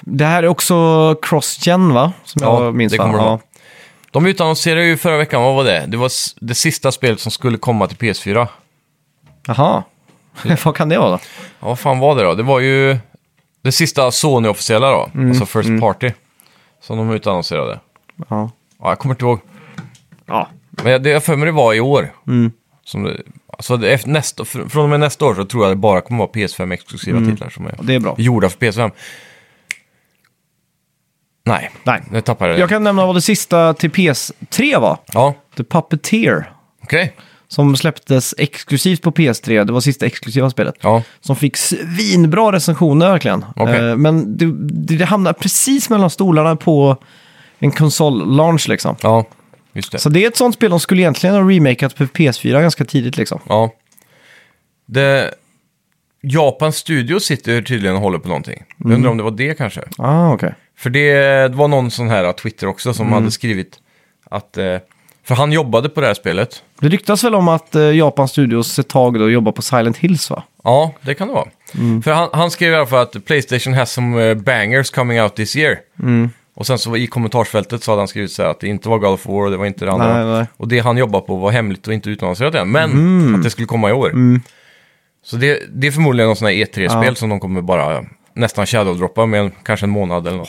A: Det här är också cross-gen va? Som
B: Ja,
A: jag minns
B: det
A: va?
B: kommer det
A: ja.
B: vara. De utannonserade ju förra veckan, vad var det? Det var s- det sista spelet som skulle komma till PS4.
A: Jaha, vad kan det vara då?
B: Ja, vad fan var det då? Det var ju det sista Sony-officiella då,
A: Mm,
B: alltså First Party, som de utannonserade.
A: Ja.
B: Ja, jag kommer inte ihåg.
A: ja.
B: Men jag- det jag för mig det var i år.
A: Mm.
B: Som det, alltså det, efter nästa, fr- från och med nästa år så tror jag det bara kommer vara PS5-exklusiva titlar som är
A: Mm. Det är bra.
B: gjorda för PS5. Nej,
A: Nej.
B: nu tappade jag det.
A: Jag kan nämna vad det sista till PS3 var.
B: Ja,
A: The Puppeteer.
B: okej.
A: Som släpptes exklusivt på PS3. Det var sista exklusiva spelet.
B: Ja.
A: Som fick svinbra recensioner verkligen.
B: Okej.
A: Eh, Men det, det, det hamnar precis mellan stolarna på en konsol-launch liksom.
B: ja, just det.
A: Så det är ett sånt spel de skulle egentligen ha remakat för PS4 ganska tidigt liksom.
B: Ja. Det... Japans studio sitter tydligen och håller på någonting. Jag
A: Mm.
B: undrar om det var det kanske.
A: Ah, okej.
B: För det, det var någon sån här äh, Twitter också
A: Mm.
B: som hade skrivit att... eh, För han jobbade på det här spelet.
A: Det ryktas väl om att eh, Japan Studios ett tag då jobbar på Silent Hills va?
B: Ja, det kan det vara.
A: Mm.
B: För han, han skrev i alla fall att Playstation has some eh, bangers coming out this year.
A: Mm.
B: Och sen så i kommentarsfältet så hade han skrivit så här att det inte var God of War och det var inte det andra.
A: Nej, nej.
B: Och det han jobbade på var hemligt och inte utannonserat än. Men
A: Mm.
B: att det skulle komma i år. Så det, det är förmodligen någon sån här E3-spel som de kommer bara eh, nästan shadowdroppa med en, kanske en månad eller något.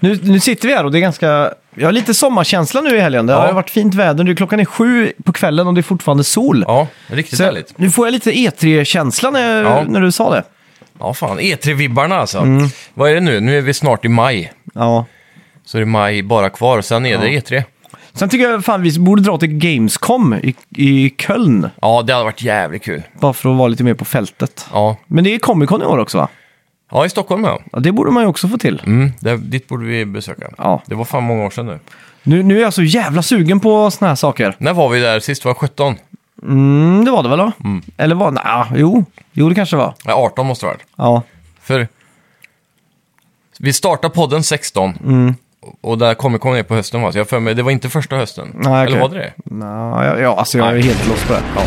A: Nu, nu sitter vi här och det är ganska... Jag har lite sommarkänsla nu i helgen. Det
B: Ja.
A: har varit fint väder. Nu klockan är sju på kvällen och det är fortfarande sol.
B: Ja, riktigt
A: Så jag-
B: härligt.
A: nu får jag lite E3-känsla när, jag-
B: Ja.
A: när du sa det.
B: Ja, fan. E3-vibbarna alltså.
A: Mm.
B: Vad är det nu? Nu är vi snart i maj.
A: Ja.
B: Så det är maj bara kvar, sen är det E E3.
A: Sen tycker jag fan vi borde dra till Gamescom i, i Köln.
B: Ja, det hade varit jävligt kul.
A: Bara för att vara lite mer på fältet.
B: Ja,
A: Men det är Comic Con i år också va?
B: ja i Stockholm ja.
A: Ja, det borde man ju också få till.
B: Mm, det, dit borde vi besöka.
A: Ja.
B: Det var fan många år sedan nu.
A: Nu, nu är jag så jävla sugen på såna här saker.
B: När var vi där sist? Var det 17?
A: Mm, det var det väl då? Eller var det? Nah, jo. jo, det kanske var.
B: Nej, 18 måste det ha varit.
A: Ja.
B: För vi startade podden 16.
A: Mm.
B: Och där Comic Con är på hösten va? Så jag för mig, det var inte första hösten.
A: Nej, okej.
B: Eller var det det?
A: Nå, ja, ja, alltså jag är
B: Nej.
A: helt lost på det. Ja.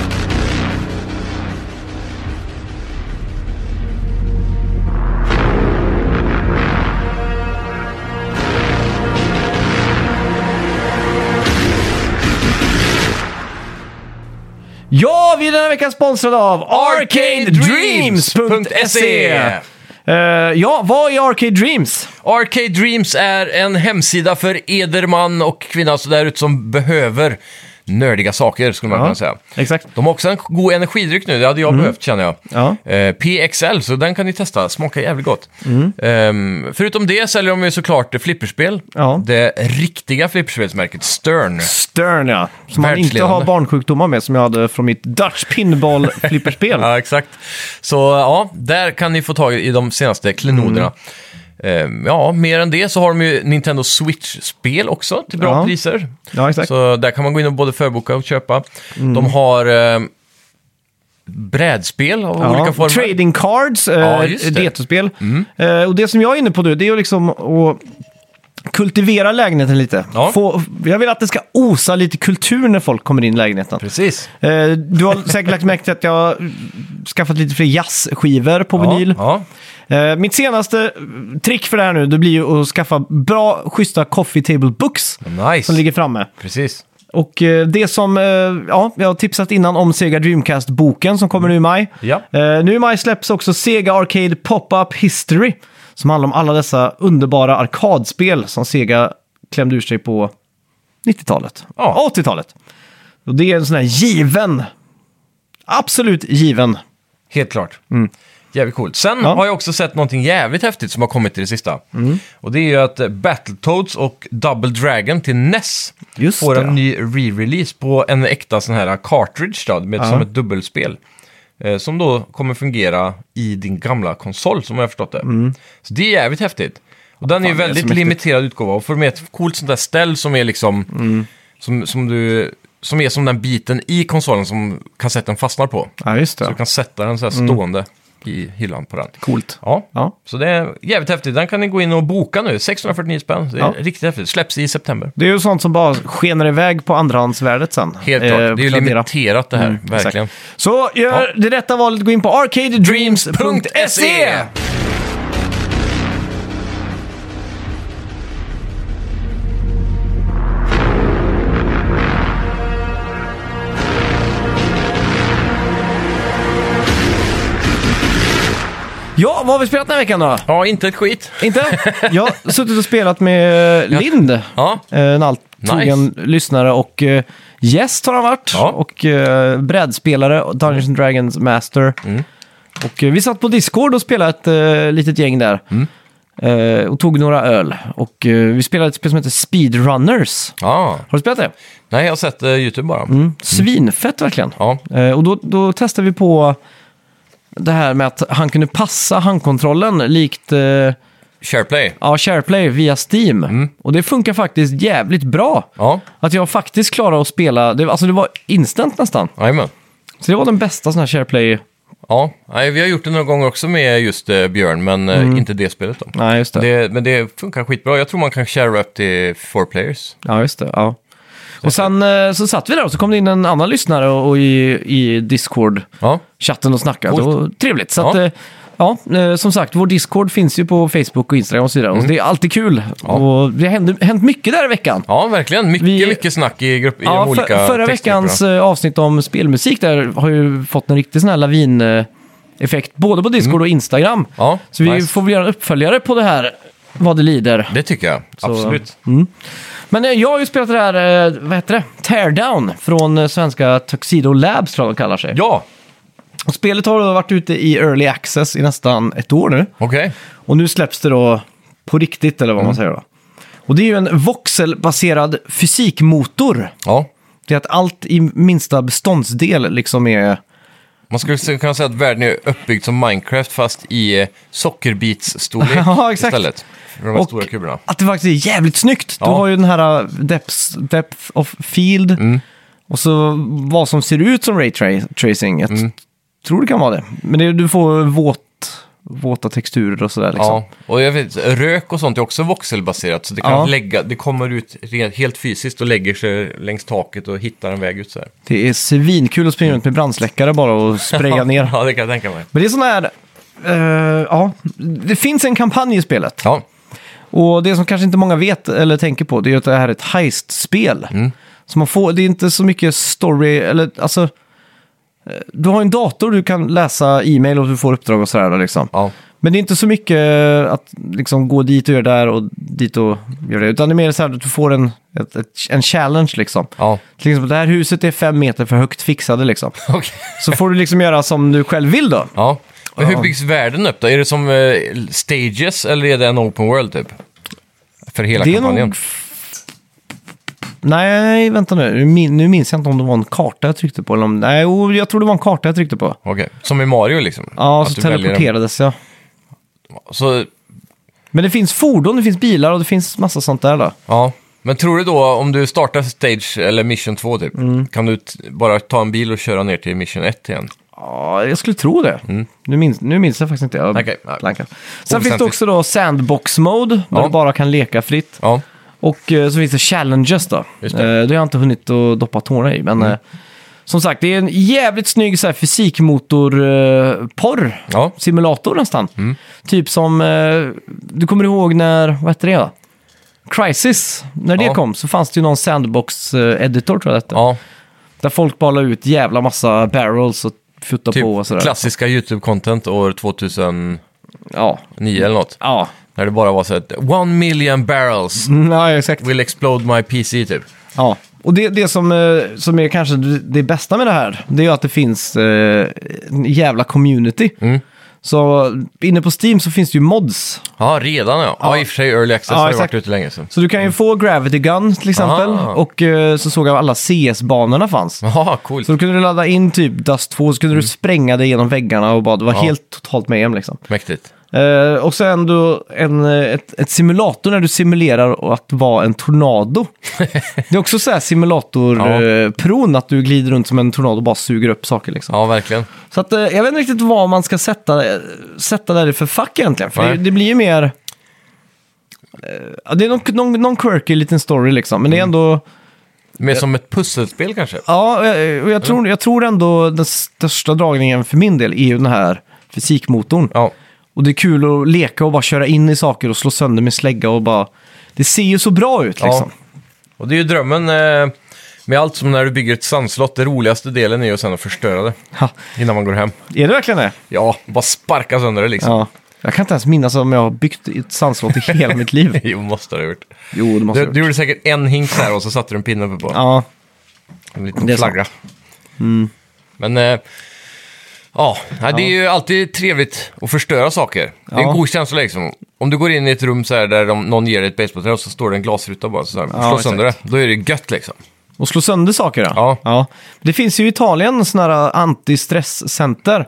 A: Ja, vi är den här veckan sponsrade av ArcadeDreams.se. Eh, ja, vad är Arcade Dreams?
B: Arcade Dreams är en hemsida för ederman och kvinna så där ute som behöver nördiga saker, skulle man
A: Ja.
B: kunna säga.
A: Exakt.
B: De har också en god energidryck nu, det hade jag behövt känner jag.
A: Ja.
B: Eh, PXL, så den kan ni testa, smakar jävligt gott.
A: Mm.
B: Ehm, förutom det säljer de ju såklart flipperspel.
A: Ja.
B: Det riktiga flipperspelsmärket Stern.
A: Stern ja, som man inte
B: Världsledande.
A: har barnsjukdomar med som jag hade från mitt Dutch pinball flipperspel.
B: Ja, exakt. Så ja, där kan ni få tag i de senaste klenoderna.
A: Mm.
B: Ehm, ja, mer än det så har de ju Nintendo Switch-spel också till bra
A: Ja.
B: priser.
A: Ja, exakt. Mm.
B: Så där kan man gå in och både förboka och köpa. De har eh, brädspel av olika
A: ja.
B: former.
A: Trading cards, eh,
B: Ja, just det. Mm.
A: detospel. Eh, och det som jag är inne på nu, det är ju liksom att kultivera lägenheten lite.
B: Ja.
A: Få, jag vill att det ska osa lite kultur när folk kommer in i lägenheten.
B: Precis.
A: Eh, du har säkert lagt märke till att jag har skaffat lite fler jazzskivor på vinyl.
B: Ja,
A: Eh, mitt senaste trick för det här nu, det blir ju att skaffa bra, schyssta coffee table books
B: ja. nice.
A: som ligger framme.
B: Precis.
A: Och eh, det som eh, ja, jag har tipsat innan om Sega Dreamcast-boken som kommer nu i maj.
B: Ja.
A: Eh, Nu i maj släpps också Sega Arcade Pop-Up History som handlar om alla dessa underbara arkadspel som Sega klämde ur sig på 90-talet.
B: Ja.
A: 80-talet. Och det är en sån här given. Absolut given.
B: Helt klart. Jävligt coolt. Sen
A: Mm. Ja. Mm.
B: har jag också sett någonting jävligt häftigt som har kommit till det sista. Och det är ju att eh, Battletoads och Double Dragon till NES
A: Just
B: får
A: det, ja.
B: en ny re-release på en äkta sån här cartridge då, med, som ett dubbelspel. Eh, som då kommer fungera i din gamla konsol som jag har förstått det. Så det är jävligt häftigt. Och den är ju
A: Mm. fan, det är så
B: väldigt
A: mäktigt.
B: limiterad utgåva och får med ett coolt sånt där ställ som är liksom
A: Mm.
B: som, som, du, som är som den biten i konsolen som kassetten fastnar på.
A: Ja, Mm. just det.
B: Så du kan sätta den så här stående i hyllan på den.
A: Coolt.
B: Ja.
A: Ja.
B: så det är jävligt häftigt. Den kan ni gå in och boka nu. 649 spänn. Det är
A: Ja.
B: riktigt häftigt. Släpps i september.
A: Det är ju sånt som bara skenar iväg på andrahandsvärdet sen.
B: Helt
A: Eh,
B: klart.
A: på
B: Det är ju
A: Tradera.
B: limiterat det här. verkligen.
A: Mm, Exakt. Så gör det rätta valet, gå in på
B: E!
A: arcadedreams.se! Ja, vad har vi spelat den här veckan då?
B: Ja, inte ett skit.
A: Inte? Jag har suttit och spelat med Lind.
B: Ja,
A: Eh, En alltrogen lyssnare och eh, gäst har han varit.
B: Ja.
A: Och eh, brädspelare, och Dungeons and Dragons Master.
B: Mm.
A: Och eh, vi satt på Discord och spelade ett eh, litet gäng där.
B: Mm.
A: Eh, och tog några öl. Och eh, vi spelade ett spel som heter Speedrunners.
B: ja.
A: Har du spelat det?
B: Nej, jag har sett eh, YouTube bara.
A: Mm. Svinfett verkligen.
B: Ja.
A: Eh, och då, då testade vi på det här med att han kunde passa handkontrollen likt eh,
B: SharePlay.
A: ja, SharePlay via Steam. Och det funkar faktiskt jävligt bra.
B: Ja,
A: Att jag faktiskt klarade att spela, det, alltså det var instant nästan.
B: jajamän.
A: Så det var den bästa sån här SharePlay.
B: Ja, nej, vi har gjort det några gånger också med just eh, Björn, men
A: Mm.
B: eh, inte det spelet då.
A: Nej, just det.
B: Det, men det funkar skitbra. Jag tror man kan share upp till four players.
A: Ja, just det. Ja. Och sen eh, så satt vi där och så kom det in en annan lyssnare och, och i, i Discord-chatten
B: Ja,
A: och snackade.
B: Coolt.
A: Och, trevligt. Så
B: Ja.
A: att, eh, ja, eh, som sagt, vår Discord finns ju på Facebook och Instagram och så
B: Mm.
A: vidare. Och det är alltid kul. Och det har hänt mycket där i veckan.
B: ja verkligen. Mycket,
A: Vi-
B: mycket snack i, grupp, i
A: Ja,
B: de
A: för,
B: olika
A: förra
B: textgrupperna.
A: veckans eh, avsnitt om spelmusik där har ju fått en riktig sån här lavin-effekt. Både på Discord och Instagram.
B: Mm. Ja,
A: Så vi
B: nice.
A: får väl göra en uppföljare på det här, vad det lider.
B: Det tycker jag, absolut.
A: Men eh, jag har ju spelat det här, eh, vad heter det? Teardown från eh, svenska Tuxedo Labs tror jag de kallar sig.
B: Ja,
A: Och spelet har då varit ute i early access i nästan ett år nu.
B: Okej.
A: Och nu släpps det då på riktigt, eller vad
B: Mm.
A: man säger då. Och det är ju en voxelbaserad fysikmotor.
B: Ja.
A: Det är att allt i minsta beståndsdel liksom är...
B: Man skulle se- kunna säga att världen är uppbyggd som Minecraft fast i eh, sockerbitsstorlek
A: Ja, exakt.
B: istället. För de här
A: Och-
B: stora kuberna.
A: Att det faktiskt är jävligt snyggt! Du
B: Ja.
A: har ju den här uh, depths, depth of field.
B: Mm.
A: Och så vad som ser ut som ray tra- tracing. Jag t-
B: Mm.
A: tror det kan vara det. Men det, du får våt, våta texturer och sådär liksom.
B: Ja, och jag vet, rök och sånt är också voxelbaserat så det, kan
A: Ja.
B: lägga, det kommer ut re- helt fysiskt och lägger sig längs taket och hittar en väg ut så här.
A: Det är svinkul att springa runt med brandsläckare bara och spraya ner.
B: Ja, det kan jag tänka mig.
A: Men det är sån här... eh, ja, det finns en kampanj i spelet.
B: Ja,
A: Och det som kanske inte många vet eller tänker på, det är ju att det här är ett heist-spel.
B: Mm.
A: Så man får, det är inte så mycket story, eller alltså... eh, Du har en dator, du kan läsa e-mail och du får uppdrag och sådär liksom.
B: ja.
A: Men det är inte så mycket att liksom gå dit och göra där och dit och göra det. Utan det är mer så här att du får en, ett, ett, en challenge liksom.
B: ja.
A: Till exempel det här huset är fem meter för högt fixade liksom.
B: Okej.
A: Så får du liksom göra som du själv vill då.
B: Ja. Men
A: Ja.
B: hur byggs världen upp då? Är det som eh, stages eller är det en open world typ? För hela
A: Det är
B: kampanjen?
A: nog... Nej, vänta nu. Nu min- Nu minns jag inte om det var en karta jag tryckte på. Eller om... Nej, jo, jag tror det var en karta jag tryckte på.
B: Okej, som i Mario liksom?
A: Ja,
B: Att
A: så
B: du väljer en-
A: teleporterades jag.
B: Så,
A: Men det finns fordon, det finns bilar och det finns massa sånt där då.
B: ja. Men tror du då, om du startar Stage eller Mission 2 typ,
A: Mm.
B: kan du t- bara ta en bil och köra ner till Mission 1 igen?
A: Ja, jag skulle tro det. Nu, minns, nu minns jag faktiskt inte. Jag
B: Mm. Okej, nej.
A: blankar. Sen finns det också då sandbox-mode, där
B: Ja.
A: du bara kan leka fritt.
B: Ja,
A: Och eh, så finns det challenges då.
B: Just
A: Eh,
B: det. Mm.
A: det har jag inte hunnit att doppa tårna i. Men eh, som sagt, det är en jävligt snygg så här, eh, fysikmotor-porr.
B: ja.
A: simulator nästan.
B: Mm.
A: Typ som, eh, du kommer ihåg när, vad hette det då? Crisis, när det
B: Ja.
A: kom så fanns det ju någon sandbox-editor tror jag det hette.
B: ja.
A: Där folk bara la ut jävla massa barrels och futta på och
B: Typ
A: sådär.
B: klassiska YouTube-content år 2009
A: Ja.
B: eller något.
A: Ja.
B: När det bara var så här, one million barrels
A: Mm, ja, exakt.
B: will explode my PC typ.
A: Ja. Och det, det som, eh, som är kanske det bästa med det här, det är ju att det finns eh, en jävla community.
B: Mm.
A: Så inne på Steam så finns det ju mods.
B: Ja, redan ja. Ja, i och för sig early access
A: Ja,
B: har ju
A: exakt.
B: varit ute länge så.
A: Så du kan ju få Gravity Gun till exempel.
B: Ah.
A: Och eh, så såg jag alla CS-banorna fanns.
B: Ja, coolt.
A: Så då kunde du ladda in typ Dust 2, så kunde du spränga dig genom väggarna och bara, det var
B: Mm. Ja.
A: helt totalt med hem liksom.
B: Mäktigt.
A: Eh, och sen då en, eh, ett, ett simulator när du simulerar att vara en tornado. det är också så här
B: Ja.
A: simulator-pron, att du glider runt som en tornado och bara suger upp saker liksom.
B: Ja, verkligen.
A: Så att, eh, jag vet inte riktigt vad man ska sätta, eh, sätta där i för fack egentligen. För det,
B: Nej.
A: det blir ju mer... eh, ja, det är någon, någon, någon quirky liten story liksom, men det är
B: Mm.
A: ändå...
B: Mer som ett pusselspel kanske.
A: Eh. Ja, eh, och jag tror, jag tror ändå den största dragningen för min del är ju den här fysikmotorn.
B: Ja,
A: Och det är kul att leka och bara köra in i saker och slå sönder med slägga och bara... Det ser ju så bra ut liksom.
B: och det är ju drömmen eh, med allt som när du bygger ett sandslott. Det roligaste delen är ju sen att förstöra det
A: Ha,
B: innan man går hem.
A: är det verkligen det?
B: Ja, bara sparka sönder det liksom.
A: Ja. Jag kan inte ens minnas om jag har byggt ett sandslott i hela mitt liv.
B: Jo, måste det ha gjort.
A: Jo, det måste
B: Du,
A: jag ha
B: du
A: gjort.
B: gjorde säkert en hink så här och så satte du en pinne uppe på.
A: Ja,
B: En liten
A: Det är Mm.
B: flagga. Men eh, ja, nej, det är ju alltid trevligt att förstöra saker. Det är
A: Ja.
B: en god känsla liksom. Om du går in i ett rum så här där de, någon ger dig ett basebollträ och så står det en glasruta bara så här,
A: Ja,
B: slå sönder det. Då är det gött liksom.
A: och slå sönder saker då.
B: Ja.
A: Det finns ju i Italien sådana här antistresscenter.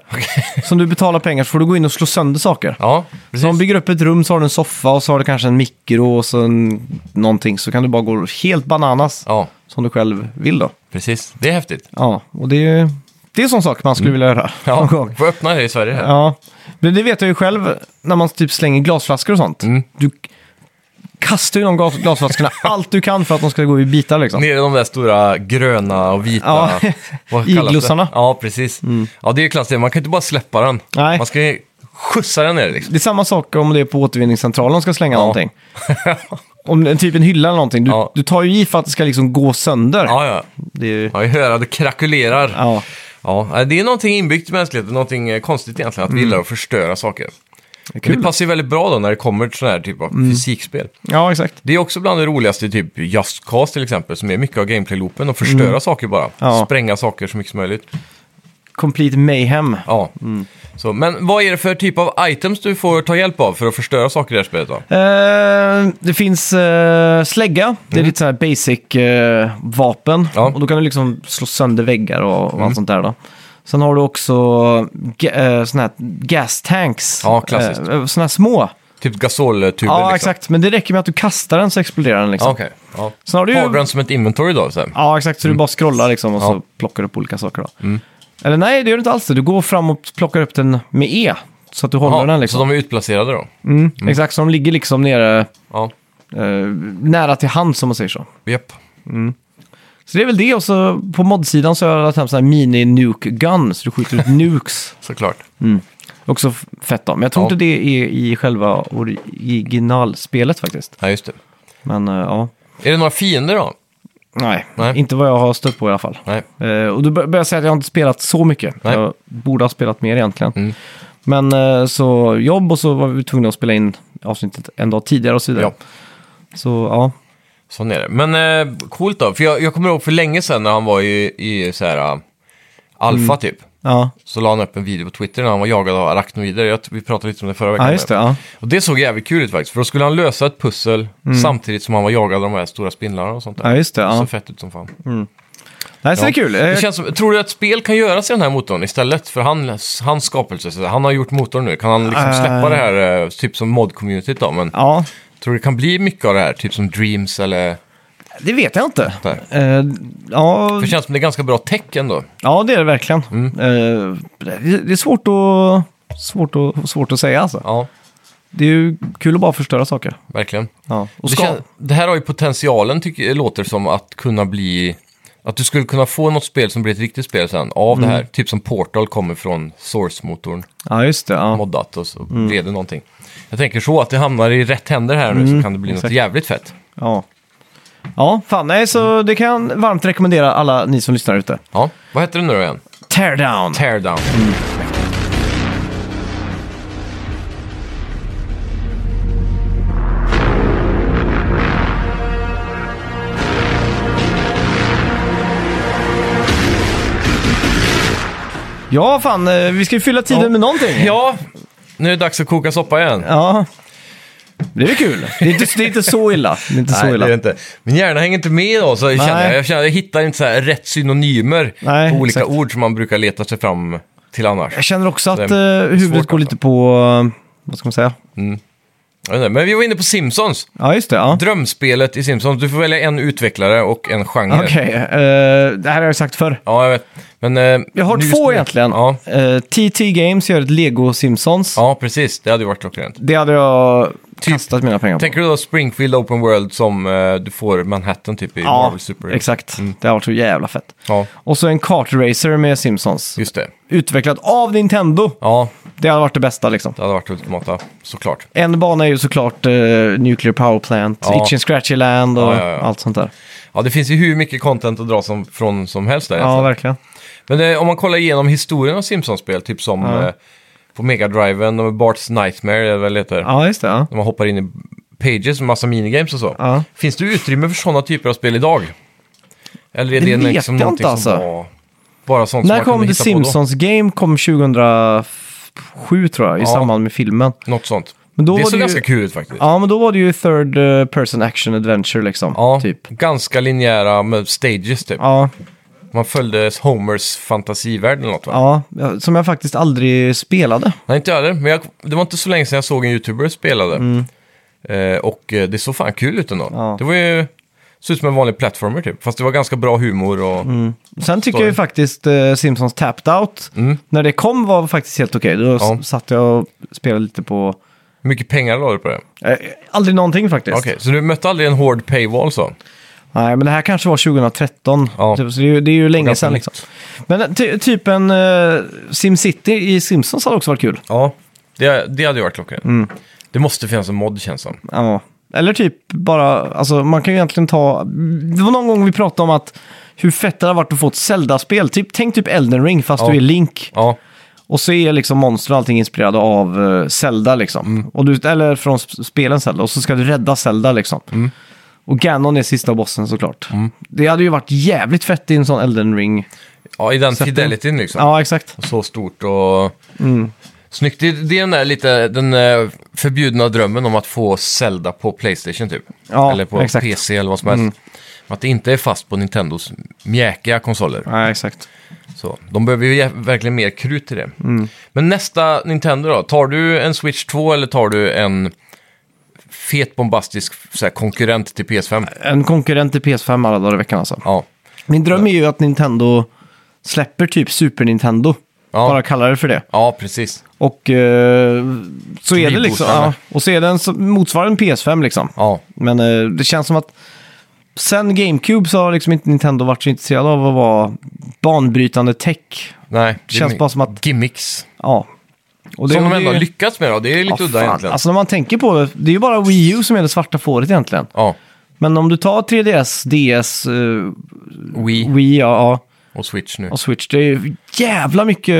A: Som du betalar pengar så får du gå in och slå sönder saker.
B: Ja,
A: Så
B: precis.
A: de bygger upp ett rum, så har du en soffa och så har du kanske en mikro och så en, någonting. Så kan du bara gå helt bananas
B: Ja,
A: som du själv vill då.
B: precis. Det är häftigt.
A: Ja, och det är, det är en sån sak man skulle vilja göra någon
B: Mm. Ja,
A: gång.
B: får öppna det i Sverige här.
A: Ja, men det vet jag ju själv när man typ slänger glasflaskor och sånt.
B: Mm.
A: Du k- kastar ju de glas, glasflaskorna allt du kan för att de ska gå i bitar liksom.
B: Nere i de där stora gröna och vita...
A: Ja,
B: vad kallas det?
A: iglossarna. Mm.
B: Ja, precis. Ja, det är ju klassiskt. Man kan inte bara släppa den.
A: Nej.
B: Man ska ju skjutsa den ner liksom.
A: Det är samma sak om det är på återvinningscentralen de ska slänga
B: Ja.
A: någonting. Om det är typ en hylla eller någonting, du,
B: Ja.
A: du tar ju i för att det ska liksom gå sönder.
B: Ja, ja.
A: Det är ju,
B: Ja, jag hör att det krakulerar.
A: ja.
B: Ja, nej, det är någonting inbyggt i mänskligheten, någonting eh, konstigt egentligen, att vi gillar att förstöra saker. Men
A: Mm. Kul. Mm.
B: Det passar ju väldigt bra då när det kommer till sådana här typ av fysikspel.
A: ja, exakt.
B: Det är också bland det roligaste i typ Just Cause till exempel, som är mycket av gameplay-loopen, och förstöra saker bara.
A: Mm. Ja.
B: Spränga saker så mycket som möjligt.
A: Complete Mayhem.
B: Ja.
A: Mm.
B: Så, men vad är det för typ av items du får ta hjälp av för att förstöra saker i det här spelet då?
A: Eh, det finns eh, slägga, det är lite så här basic eh, vapen.
B: Mm. Ja. Mm.
A: Och då kan du liksom slå sönder väggar och, och allt sånt där då. Sen har du också ga- eh, såna här gas tanks.
B: Ja, klassiskt.
A: Eh, såna här små.
B: Typ gasoltuber
A: Ja,
B: liksom?
A: exakt. Men det räcker med att du kastar den så exploderar den liksom.
B: Ja, Okej. Ja.
A: Sen har du
B: Har du
A: ju...
B: den som ett inventory då? Så här?
A: Ja, exakt. Så du bara scrollar liksom och så
B: Ja. Mm.
A: plockar upp olika saker då. Eller nej, det gör du inte alls. det. Du går fram och plockar upp den med E. Så att du håller
B: Ja,
A: den liksom.
B: Så de är utplacerade då?
A: Mm. Exakt, så de ligger liksom nere,
B: Ja,
A: eh, nära till hand som man säger så.
B: japp.
A: Så det är väl det och så på modsidan så har jag lagt hem sån här mini-nuke gun, så du skjuter ut nukes.
B: Såklart.
A: Också f- fett då. Men jag tror
B: Ja.
A: inte det är i själva originalspelet faktiskt.
B: Ja, just det.
A: Men eh, ja,
B: Är det några fiender då?
A: nej.
B: Nej.
A: Inte vad jag har stött på i alla fall.
B: Nej.
A: Eh, och då bör- börjar jag säga att jag inte spelat så mycket.
B: Nej.
A: Jag borde ha spelat mer egentligen.
B: Mm.
A: Men eh, så jobb och så var vi tvungna att spela in avsnittet en dag tidigare och så vidare.
B: Ja.
A: Så ja,
B: Sån är det. Men eh, coolt då, för jag, jag kommer ihåg för länge sedan när han var i, i så här, eh, alfa
A: Mm.
B: typ.
A: ja.
B: Så la han upp en video på Twitter när han var jagad av arachnoider. Jag, vi pratade lite om det förra veckan.
A: ja just det. Ja.
B: Och det såg jävligt kul ut faktiskt, för då skulle han lösa ett pussel samtidigt som han var jagad av de här stora spindlarna och sånt där.
A: Mm. ja, just det.
B: Så
A: Ja. Eh,
B: fett ut som fan.
A: Nej, så
B: Ja.
A: det är kul. Eh,
B: Det känns som, tror du att spel kan göras i den här motorn istället för han, hans skapelse? Så Han har gjort motorn nu, kan han liksom
A: Eh.
B: släppa det här eh, typ som mod-communityt då? Men
A: Ja,
B: tror du det kan bli mycket av det här, typ som Dreams eller...
A: det vet jag inte.
B: Där.
A: Eh, ja,
B: För det känns som det är ganska bra tech ändå.
A: ja, det är det verkligen.
B: Mm.
A: Eh, det det är svårt att, svårt att, svårt att säga alltså.
B: Ja,
A: Det är ju kul att bara förstöra saker.
B: verkligen.
A: Ja. Och
B: det,
A: ska,
B: kän- det här har ju potentialen, tycker, låter som, att kunna bli... Att du skulle kunna få något spel som blir ett riktigt spel sen av
A: Mm.
B: det här. Typ som Portal kommer från Source-motorn,
A: Ja, just det. Ja.
B: moddat och så
A: Mm.
B: blev det någonting. Jag tänker så, att det hamnar i rätt händer här nu så kan det bli något
A: Mm, exakt.
B: jävligt fett.
A: Ja. ja, fan nej,
B: Mm.
A: så det kan jag varmt rekommendera alla ni som lyssnar ute.
B: Ja, vad heter det nu då igen?
A: Teardown!
B: Teardown.
A: Ja, fan, eh, vi ska ju fylla tiden
B: Ja.
A: med någonting.
B: Ja, nu är det dags att koka soppa igen.
A: ja. Det är väl kul. Det är inte, det är inte så illa. Det är inte så
B: Nej, det
A: illa.
B: är det inte. Min hjärna hänger inte med idag, så känner jag. Jag, känner, jag hittar inte så här rätt synonymer
A: Nej,
B: på olika
A: exakt.
B: ord som man brukar leta sig fram till annars.
A: Jag känner också att
B: Det är
A: eh, huvudet
B: svårt
A: går
B: alltså.
A: lite på, eh, vad ska man säga?
B: Jag vet inte, Men vi var inne på Simpsons.
A: Ja, just det. Ja.
B: Drömspelet i Simpsons. Du får välja en utvecklare och en genre.
A: Okej, eh, det här har jag sagt förr.
B: Ja, jag vet. Men, eh,
A: Jag har
B: nu
A: två
B: just nu-
A: egentligen.
B: Ja.
A: Eh, TT Games gör ett Lego Simpsons.
B: ja, precis. Det hade ju varit klockrent.
A: Det hade jag kastat mina pengar på.
B: Tänker du då Springfield Open World som eh, du får Manhattan typ i
A: ja,
B: Marvel Super?
A: exakt.
B: Mm.
A: Det har varit så jävla fett.
B: Ja,
A: Och så en kartracer med Simpsons.
B: just det.
A: Utvecklat av Nintendo.
B: Ja,
A: Det hade varit det bästa liksom.
B: det hade varit ultimata, såklart.
A: En bana är ju såklart eh, Nuclear Power Plant,
B: Ja.
A: Itchy and Scratchy Land och
B: Ja, ja, ja.
A: allt sånt där.
B: Ja, det finns ju hur mycket content att dra som, från som helst där.
A: Ja, verkligen.
B: Men eh, om man kollar igenom historien av Simpsons-spel, typ som
A: Ja.
B: eh, på Mega Driven och Bart's Nightmare, eller vad det heter.
A: Ja, just det. Ja.
B: När man hoppar in i pages med massa minigames och så.
A: Ja.
B: Finns det utrymme för sådana typer av spel idag? Eller är
A: Det
B: det,
A: vet
B: liksom
A: jag inte
B: någonting
A: alltså.
B: som var bara sånt som
A: När
B: man kunde
A: kom The
B: hitta på då?
A: Simpsons Game? Kom 2007 tror jag, i
B: Ja.
A: samband med filmen.
B: Något sånt.
A: Men då
B: det
A: var
B: såg
A: det ju-
B: ganska kul ut faktiskt.
A: Ja, men då var det ju third eh, person action adventure liksom.
B: Ja,
A: Typ.
B: ganska linjära med stages typ.
A: Ja,
B: Man följde Homers fantasivärld eller något va?
A: ja, som jag faktiskt aldrig spelade.
B: Nej, inte jag heller. Men jag, det var inte så länge sedan jag såg en YouTuber spelade. Eh, och eh, det såg fan kul ut ändå.
A: Ja.
B: Det var ju... Såg ut som en vanlig plattformer typ. Fast det var ganska bra humor och...
A: Sen tycker
B: Story.
A: jag ju faktiskt eh, Simpsons Tapped Out,
B: mm,
A: när det kom var faktiskt helt okej. Då s-
B: Ja.
A: satt jag och spelade lite på...
B: Hur mycket pengar la du på det?
A: Eh, aldrig någonting faktiskt.
B: Okej, så du mötte aldrig en hård paywall så?
A: Nej, men det här kanske var 2013.
B: Ja.
A: Typ, så det är ju, det är ju länge
B: Ganska
A: sedan
B: nytt.
A: liksom. Men ty, typ en eh, SimCity i Simpsons hade också varit kul.
B: Ja, det, det hade ju varit klockrent. Det måste finnas en mod känns som.
A: Ja. Eller typ bara, alltså man kan ju egentligen ta, det var någon gång vi pratade om att hur fett det hade varit att få ett Zelda-spel. Typ, tänk typ Elden Ring fast
B: Ja.
A: du är Link.
B: Ja,
A: Och så är liksom monster och allting inspirerade av
B: Mm. Mm.
A: eh, Zelda liksom. Och du, eller från sp- spelen Zelda. Och så ska du rädda Zelda liksom. Och Ganon är sista bossen såklart. Det hade ju varit jävligt fett i en sån Elden ring.
B: Ja, i den
A: Sätten.
B: fidelityn liksom.
A: Ja, exakt.
B: Så stort och snyggt. Det, det är den där lite den eh, förbjudna drömmen om att få Zelda på Playstation typ.
A: Ja,
B: eller på
A: exakt. Mm.
B: PC eller vad som helst. Att det inte är fast på Nintendos mjäkiga konsoler.
A: Ja, exakt.
B: Så, de behöver ju jä- verkligen mer krut till det.
A: Mm.
B: Men nästa Nintendo då? Tar du en Switch 2 eller tar du en fet bombastisk så här, konkurrent till PS5?
A: En konkurrent till PS5 alla dagar i veckan alltså.
B: Ja.
A: Min dröm är ju att Nintendo släpper typ Super Nintendo.
B: Ja.
A: Bara kallar det för det.
B: ja, precis.
A: Och eh, så är det liksom.
B: Turbo-standard.
A: Ja, och så är den så- motsvarande PS5 liksom.
B: Ja.
A: Men eh, det känns som att sen GameCube så har liksom inte Nintendo varit så intresserad av att vara banbrytande tech.
B: Nej, det är
A: känns
B: mi-
A: bara som att-
B: Gimmicks.
A: Ja. Och
B: Som de
A: det-
B: ändå har lyckats med då. Det är lite
A: Ja,
B: udda
A: fan.
B: egentligen.
A: Alltså när man tänker på det, det är ju bara Wii U som är det svarta fåret egentligen.
B: Ja,
A: Men om du tar 3DS, DS, eh,
B: Wii
A: Wii ja, ja,
B: och Switch nu.
A: och Switch, det är ju jävla mycket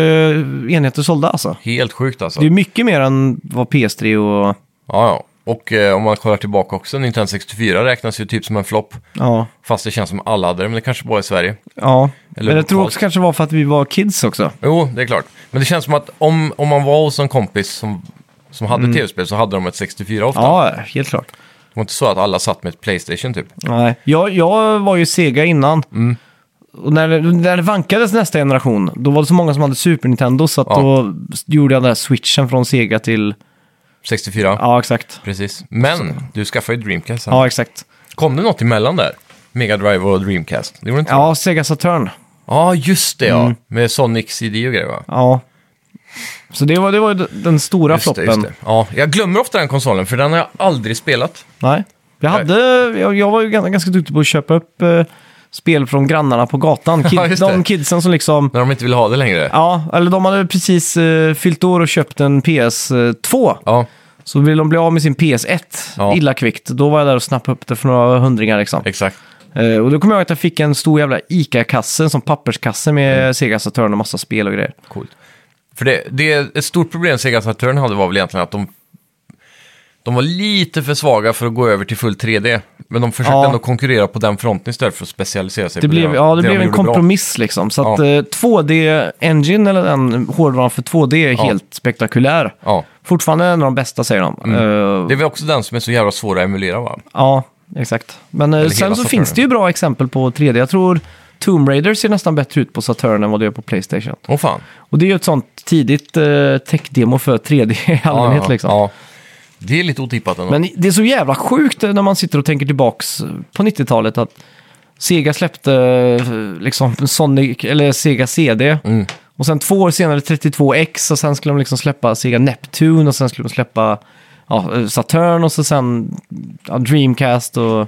A: enheter sålda alltså.
B: Helt sjukt alltså.
A: Det är mycket mer än vad PS3 och...
B: Ja, ja. Och eh, om man kollar tillbaka också, Nintendo 64 räknas ju typ som en flopp.
A: Ja,
B: Fast det känns som alla hade det, men det kanske bara är i Sverige.
A: ja.
B: Eller
A: men jag tror
B: lokalt.
A: också kanske det var för att vi var kids också.
B: Jo, det är klart. Men det känns som att om, om man var hos en kompis som, som hade tv-spel så hade de ett 64 ofta.
A: Mm. Ja, helt klart.
B: Det var inte så att alla satt med ett Playstation typ.
A: Nej. Jag, jag var ju Sega innan.
B: Mm.
A: Och när, det- när det vankades nästa generation, då var det så många som hade Super Nintendo så att
B: Ja.
A: då gjorde jag den där switchen från Sega till...
B: 64,
A: Ja, exakt.
B: precis. Men du skaffade ju Dreamcast sen.
A: Ja, exakt.
B: Kom det något emellan där? Mega Drive och Dreamcast? Det gjorde inte det?
A: Ja, Mm. Sega Saturn.
B: Ja, just det ja. Med Sonic CD och grejer va?
A: Ja. Så det var, det var ju den stora
B: Just det,
A: floppen.
B: just det. Ja, jag glömmer ofta den konsolen för den har jag aldrig spelat.
A: Nej. Jag, hade, jag, jag var ju ganska, ganska duktig på att köpa upp eh, spel från grannarna på gatan. Kid,
B: Ja, just det.
A: de kidsen som liksom...
B: När de inte vill ha det längre.
A: Ja, eller de hade precis eh, fyllt år och köpt en eh, PS2.
B: Ja,
A: Så ville de bli av med sin PS1
B: Ja.
A: illa kvickt. Då var jag där och snappade upp det för några hundringar liksom.
B: exakt.
A: Eh, och då kommer jag ihåg att jag fick en stor jävla ICA-kasse, som papperskasse med
B: Mm.
A: Sega Saturn och massa spel och grejer.
B: Coolt. För det, det är ett stort problem Sega Saturn hade var väl egentligen att de, de var lite för svaga för att gå över till full 3D. Men de försökte
A: Ja.
B: ändå konkurrera på den fronten istället för att specialisera sig
A: Det
B: på
A: blev,
B: de-
A: ja, det,
B: de
A: blev en
B: gjorde bra.
A: kompromiss liksom. Så att
B: Ja.
A: eh, 2D-engine, eller den hårdvaran för 2D, är
B: Ja.
A: helt spektakulär.
B: Ja.
A: Fortfarande en av de bästa, säger de. Eh,
B: Mm. Det är väl också den som är så jävla svår att emulera va?
A: Ja, exakt. Men eh,
B: hela
A: sen så
B: Saturn.
A: finns det ju bra exempel på 3D. Jag tror Tomb Raider ser nästan bättre ut på Saturn än vad det gör på Playstation.
B: Åh fan.
A: Och det är ju ett sånt tidigt eh, tech-demo för 3D i allmänhet
B: ja,
A: liksom.
B: Ja. Det är lite otippat ändå.
A: Men det är så jävla sjukt eh, när man sitter och tänker tillbaks på 90-talet att Sega släppte eh, liksom Sonic, eller Sega CD.
B: Mm.
A: Och sen två år senare 32X och sen skulle de liksom släppa Sega Neptune och sen skulle de släppa ja, eh, Saturn och så sen ja, Dreamcast och...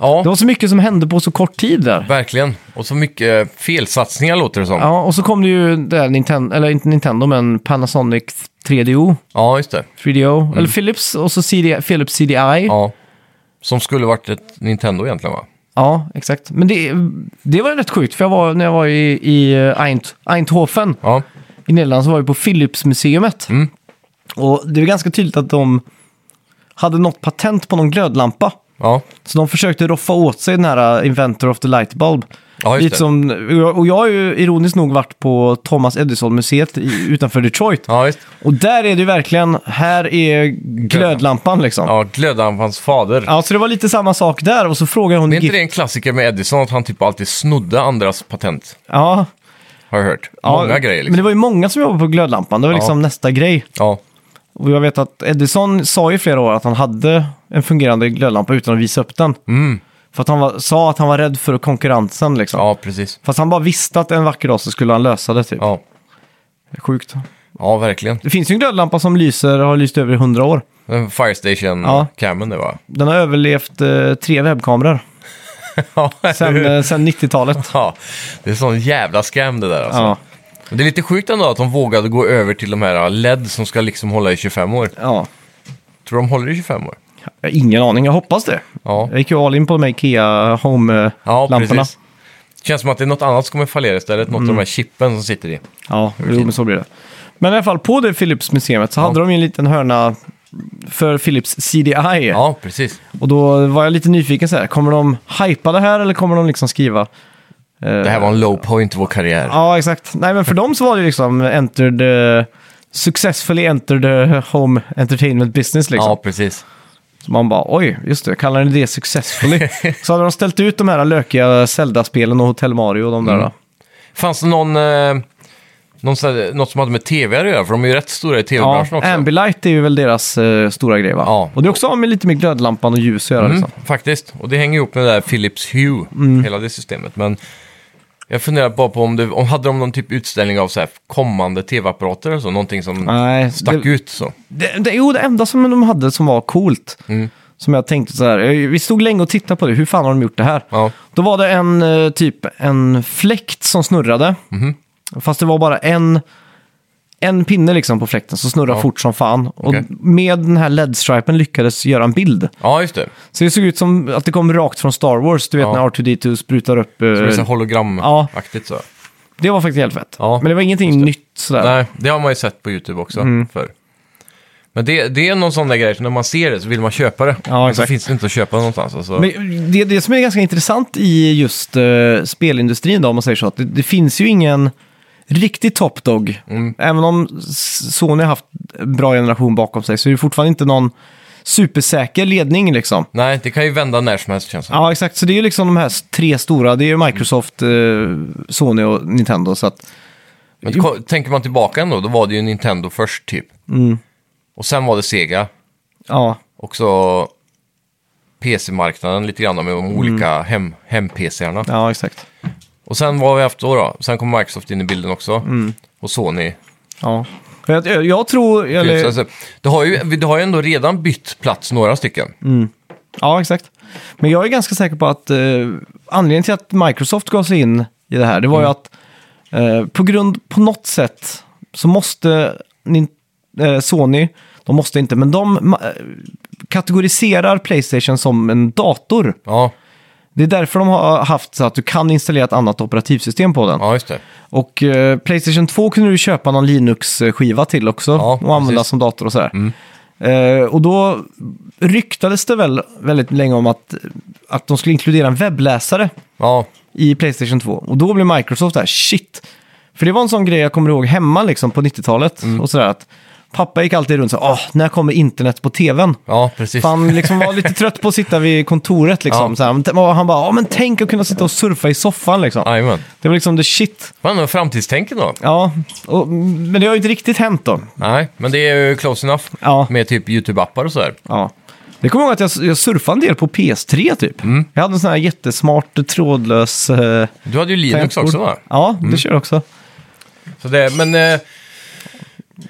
B: Ja,
A: Det var så mycket som hände på så kort tid där.
B: verkligen. Och så mycket eh, felsatsningar låter det som. Ja,
A: Ja, och så kom det ju där Nintendo, eller inte Nintendo, men Panasonic 3DO,
B: just det.
A: 3DO, eller Philips, och så CD, Philips CDI. Ja.
B: Mm. Ja. Som skulle varit ett Nintendo egentligen va?
A: exakt. Men det, det var rätt sjukt, för jag var, när jag var i, i eh, Eint, Eindhoven
B: Ja,
A: i Nederländerna så var vi på Philips-museet.
B: Mm.
A: Och det är ganska tydligt att de hade något patent på någon glödlampa.
B: ja.
A: Så de försökte roffa åt sig den här eh, Inventor of the Light Bulb.
B: ja just
A: Lite
B: det.
A: som, och jag har ju ironiskt nog varit på Thomas Edison-museet i- utanför Detroit.
B: Ja, just
A: Och där är det ju verkligen, här är glödlampan liksom. Ja.
B: Ja, glödlampans fader.
A: så det var lite samma sak där och så frågar hon...
B: Det är inte
A: gift-
B: det en klassiker med Edison att han typ alltid snodde andras patent?
A: Ja,
B: Har jag hört.
A: ja,
B: Många grejer
A: Men
B: liksom.
A: det var ju många som jobbade på glödlampan, det var
B: Ja.
A: liksom nästa grej.
B: Ja,
A: Och jag vet att Edison sa i flera år att han hade en fungerande glödlampa utan att visa upp den.
B: mm.
A: För att han var, sa att han var rädd för konkurrensen liksom.
B: ja precis.
A: Fast han bara visste att en vacker dag så skulle han lösa det typ.
B: Ja.
A: Sjukt.
B: ja, verkligen.
A: Det finns ju en glödlampa som lyser, har lyst över i hundra år.
B: Den Fire Station
A: Ja.
B: Cammen det var.
A: Den har överlevt eh, tre webbkameror
B: Ja, eller
A: sen,
B: hur?
A: eh, sen 90-talet.
B: ja, det är sån jävla scam det där alltså.
A: Ja.
B: Men Det är lite sjukt ändå att de vågade gå över till de här LED som ska liksom hålla i 25 år.
A: ja,
B: Tror de håller i 25 år?
A: jag har ingen aning. Jag hoppas det.
B: Ja,
A: Jag gick ju all in på de här Ikea eh,
B: ja
A: Home-lamporna.
B: precis. Känns som att det är något annat som kommer fallera istället. Något
A: Mm.
B: av de här chippen som sitter i.
A: Ja, jo, men så blir det. Men i alla fall på det Philips-museet så hade de ju en liten hörna för Philips CDI.
B: Ja, precis.
A: Och då var jag lite nyfiken så här, kommer de hypa det här eller kommer de liksom skriva? Eh,
B: Det här var en low point i vår karriär.
A: Ja, exakt. Nej, men för dem så var det ju liksom entered, eh, successfully entered eh, home entertainment business liksom.
B: Ja, precis.
A: Så man bara, oj, just det, kallar ni det successfully? så hade de ställt ut de här lökiga Zelda-spelen och Hotel Mario och de där.
B: Mm.
A: Då.
B: Fanns det någon, eh, någon, sån här- något som hade med tv att göra? För de är ju rätt stora i
A: Ja,
B: tv-branschen också.
A: Ambilight är ju väl deras eh, stora grej va?
B: Ja.
A: Och det är också med lite med glödlampan och ljus att göra
B: Mm,
A: liksom. Mm.
B: faktiskt. Och det hänger ihop med det där Philips Hue, hela det systemet. Men jag funderar bara på om, det, om hade de någon typ utställning av så här kommande tv-apparater eller så? Någonting som
A: Nej,
B: stack
A: det,
B: ut så.
A: det, det, jo, det enda som de hade som var coolt,
B: Mm.
A: som jag tänkte så här, eh, vi stod länge och tittade på det, hur fan har de gjort det här?
B: Ja,
A: Då var det en eh, typ en fläkt som snurrade.
B: Mhm.
A: Fast det var bara en, en pinne liksom på fläkten som snurrade
B: Ja.
A: fort som fan.
B: Okej.
A: Och med den här LED-stripen lyckades göra en bild.
B: ja just det.
A: Så det såg ut som att det kom rakt från Star Wars, du vet
B: Ja.
A: när R2D2 sprutar upp. eh,
B: Det är så här
A: Ja.
B: hologramaktigt så.
A: det var faktiskt helt fett.
B: Ja,
A: Men det var ingenting nytt sådär.
B: Nej, det har man ju sett på YouTube också
A: Mm.
B: förr. Men det, det är någon sån där grej, så när man ser det så vill man köpa det.
A: Ja,
B: Men så
A: exakt.
B: finns det inte att köpa någonstans. Alltså.
A: Men det, det som är ganska intressant i just eh, spelindustrin då, om man säger så, att det, det finns ju ingen riktig top dog. Även om S- Sony har haft en bra generation bakom sig så är det fortfarande inte någon supersäker ledning liksom.
B: Nej, det kan ju vända när som helst känns det
A: Ja, exakt. Så det är ju liksom de här s- tre stora. Det är ju Microsoft, eh, Sony och Nintendo. Så att,
B: Men ko- tänker man tillbaka ändå, då var det ju Nintendo först typ.
A: Mm.
B: Och sen var det Sega.
A: ja,
B: Och så PC-marknaden lite grann med de
A: Mm.
B: olika hem, hem-PC-arna.
A: ja, exakt.
B: Och sen vad har vi haft då då? Sen kom Microsoft in i bilden också.
A: Mm.
B: Och Sony.
A: Ja. För Jag, jag, jag tror...
B: Så
A: Eller,
B: Alltså, det, har ju, det har ju ändå redan bytt plats några stycken.
A: Mm. ja, exakt. Men jag är ganska säker på att eh, anledningen till att Microsoft gav sig in i det här, det var ju att eh, på grund, på något sätt, så måste nin, eh, Sony, de måste inte, men de ma- eh, kategoriserar Playstation som en dator.
B: Ja,
A: Det är därför de har haft så att du kan installera ett annat operativsystem på den.
B: ja just det.
A: Och eh, Playstation 2 kunde du köpa någon Linux-skiva till också
B: Ja,
A: och använda
B: precis.
A: som
B: Mm.
A: dator och sådär. Eh, och då ryktades det väl väldigt länge om att, att de skulle inkludera en webbläsare
B: Ja,
A: i Playstation 2. Och då blev Microsoft där, shit! För det var en sån grej jag kommer ihåg hemma liksom på 90-talet
B: Mm.
A: och sådär att pappa gick alltid runt och sa, "Åh, när kommer internet på tvn?
B: ja precis.
A: För han liksom var lite trött på att sitta vid kontoret liksom.
B: Ja.
A: Så här, men t- och han bara, ja men tänk att kunna sitta och surfa i soffan liksom.
B: Jajamän.
A: Det var liksom the shit.
B: Vad ändå framtidstänket då?
A: Ja, och, men det har ju inte riktigt hänt då.
B: Nej, men det är ju close enough.
A: Ja.
B: Med typ YouTube-appar och sådär.
A: Ja. Jag kommer ihåg att jag, jag surfade en del på PS3 typ. Jag hade en sån här jättesmart trådlös... Eh,
B: Du hade ju Linux
A: tangentbord.
B: också va?
A: Ja, det kör jag också.
B: Så det, men eh,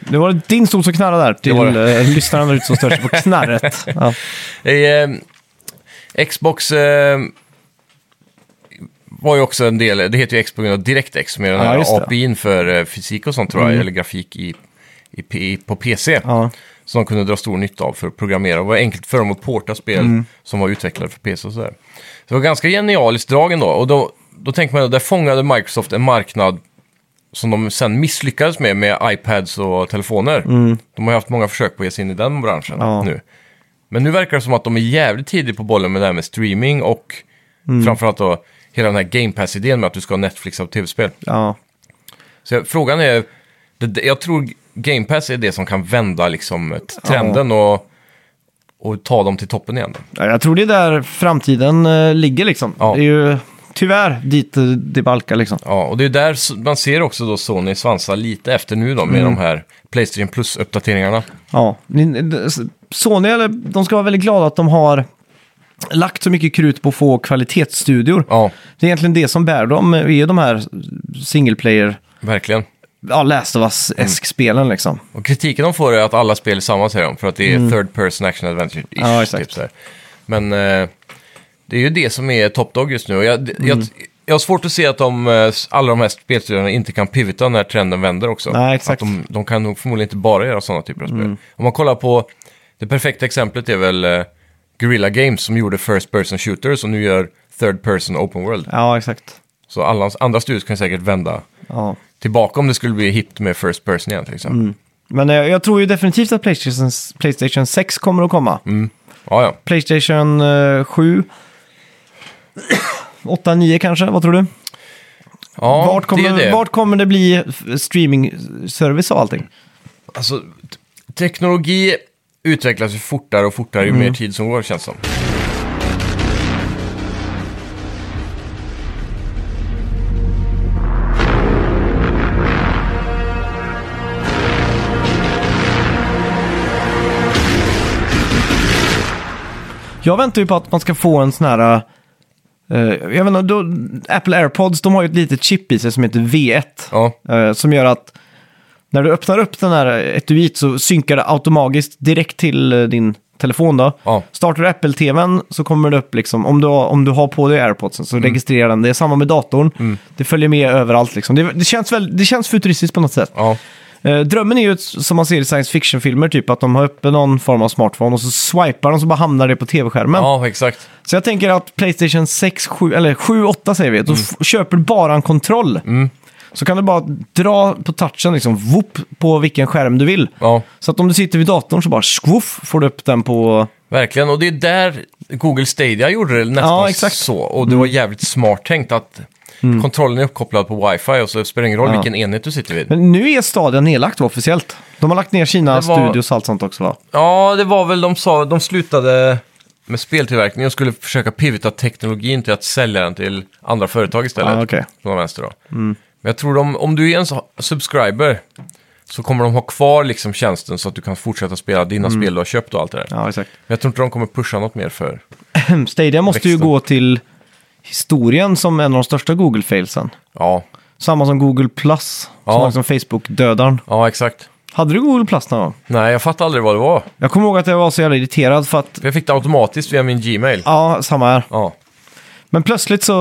A: Nu var det din stol som knarrade där till
B: var
A: eh, lyssnaren där ute som stör sig på knarret. Ja.
B: I, eh, Xbox eh, var ju också en del, det heter ju X på grund av DirectX som är den
A: Ja,
B: här
A: just det. Mm.
B: API'n för eh, fysik och sånt tror jag, eller grafik i, i, P- på PC.
A: Ja.
B: Som de kunde dra stor nytta av för att programmera. Och Det var enkelt för dem att porta spel
A: Mm.
B: som var utvecklade för PC och sådär. Så det var ganska genialiskt drag ändå. Och då, då tänker man, där fångade Microsoft en marknad som de sen misslyckades med, med iPads och telefoner. De har ju haft många försök på att ge sig in i den branschen
A: Mm. Ja.
B: nu. Men nu verkar det som att de är jävligt tidigt på bollen med det här med streaming och framförallt då hela den här Game Pass-idén med att du ska ha Netflix av tv-spel.
A: ja.
B: Så jag- frågan är, det- det- jag tror Game Pass är det som kan vända liksom t- trenden och, och ta dem till toppen igen.
A: Ja, Jag tror det är där framtiden eh, ligger liksom.
B: Ja.
A: Det är ju tyvärr dit eh, det balkar liksom.
B: Ja, och det är där s- man ser också då Sony svansa lite efter nu då med de här Playstation Plus-uppdateringarna.
A: Ja, ni- eh, d- s- Sony eller, de ska vara väldigt glada att de har lagt så mycket krut på att få kvalitetsstudior.
B: Ja,
A: Det är egentligen det som bär dem, är ju de här single player,
B: verkligen.
A: ja, Last of Us-esk-spelen liksom.
B: Och kritiken de får är att alla spel är samma, säger de, för att det är third person action adventure ish
A: Mm. Ja, exakt.
B: typ så här. Men eh, det är ju det som är top dog just nu. Och jag,
A: Mm.
B: jag, jag har svårt att se att de, eh, alla de här spelstudiorna inte kan pivota när trenden vänder också.
A: Nej, exakt. Mm.
B: Att de, de kan nog förmodligen inte bara göra sådana typer av spel. Om man kollar på, det perfekta exemplet är väl eh, Guerrilla Games som gjorde first person shooters och nu gör third person open world.
A: Ja, exakt.
B: Så alla andra studios kan säkert vända
A: Ja.
B: tillbaka om det skulle bli hippt med first person igen till exempel.
A: Men eh, jag tror ju definitivt att Playstation, Playstation 6 kommer att komma.
B: Mm. Ja, ja.
A: Playstation eh, 7. 8, 9 kanske, vad tror du?
B: ja
A: vart,
B: det
A: kommer,
B: är det.
A: vart kommer det bli f- streaming-service och allting?
B: Alltså, t- teknologi utvecklas ju fortare och fortare
A: Mm.
B: ju mer tid som går, känns som.
A: Jag väntar ju på att man ska få en sån här... eh, jag vet inte, då, Apple AirPods, de har ju ett litet chip i sig som heter V1.
B: Ja,
A: eh, som gör att när du öppnar upp den här etuiet så synkar det automatiskt direkt till eh, din telefon då.
B: ja.
A: Startar du Apple-TVn så kommer det upp liksom, om du, har- om du har på dig AirPodsen så registrerar den. Det är samma med datorn. Det följer med överallt liksom. Det, det, känns väl, det känns futuristiskt på något sätt.
B: ja.
A: Eh, drömmen är ju som man ser i science fiction-filmer, typ att de har uppe någon form av smartphone och så swipar de så bara hamnar det på tv-skärmen.
B: ja exakt.
A: Så jag tänker att Playstation 6, 7, eller 7, 8 säger vi, då
B: Mm.
A: f- köper du bara en kontroll. Så kan du bara dra på touchen, liksom whoop, på vilken skärm du vill.
B: Ja,
A: Så att om du sitter vid datorn så bara skvoff får du upp den på...
B: verkligen. Och det är där Google Stadia gjorde det nästan
A: Ja, exakt. Mm.
B: så. Och det var jävligt smart tänkt att kontrollen är uppkopplad på wifi och så spelar det ingen roll
A: Ja.
B: vilken enhet du sitter vid.
A: Men nu är Stadia nedlagt va, officiellt. De har lagt ner sina
B: Det var-
A: studios och allt sånt också va?
B: Ja, det var väl de sa, de slutade med speltillverkning och skulle försöka pivota teknologin till att sälja den till andra företag istället.
A: Ah, okej. Mm.
B: På någon vänster då. Men jag tror de, om du är en så- subscriber så kommer de ha kvar liksom tjänsten så att du kan fortsätta spela dina spel du har köpt och allt det där.
A: Mm. Ja, exakt.
B: Men jag tror inte de kommer pusha något mer för.
A: Stadia måste ju
B: Växten.
A: gå till historien som en av de största Google-failsen.
B: Ja,
A: Samma som Google Plus,
B: Ja.
A: som liksom Facebook-dödaren.
B: ja exakt.
A: Hade du Google Plus någon gång?
B: Nej, jag fattade aldrig vad det var.
A: Jag kommer ihåg att jag var så jävla irriterad för att...
B: För jag fick det automatiskt via min Gmail.
A: Ja, samma här.
B: Ja,
A: Men plötsligt så